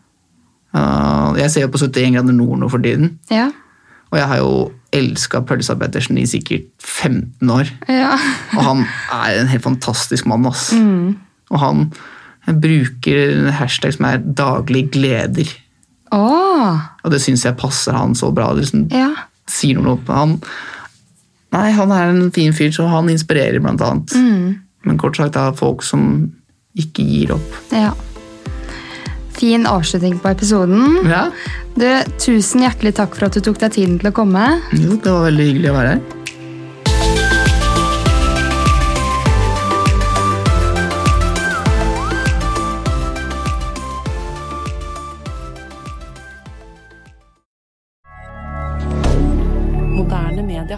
S2: Eh, jeg ser jo på 71 grader nord nå for tiden,
S1: Ja.
S2: og jeg har jo elska Pølsa Pettersen i sikkert 15 år.
S1: ja.
S2: Og han er en helt fantastisk mann, ass. Og han bruker en hashtag som er 'daglig gleder'.
S1: Å!
S2: Og det syns jeg passer han så bra. Det liksom
S1: Ja.
S2: sier noe om han. Nei, han er en fin fyr, så han inspirerer, blant annet. Men kort sagt, det er folk som ikke gir opp.
S1: ja. Fin avslutning på episoden.
S2: Ja,
S1: Du, tusen hjertelig takk for at du tok deg tiden til å komme.
S2: jo, det var veldig hyggelig å være her.
S3: Moderne media.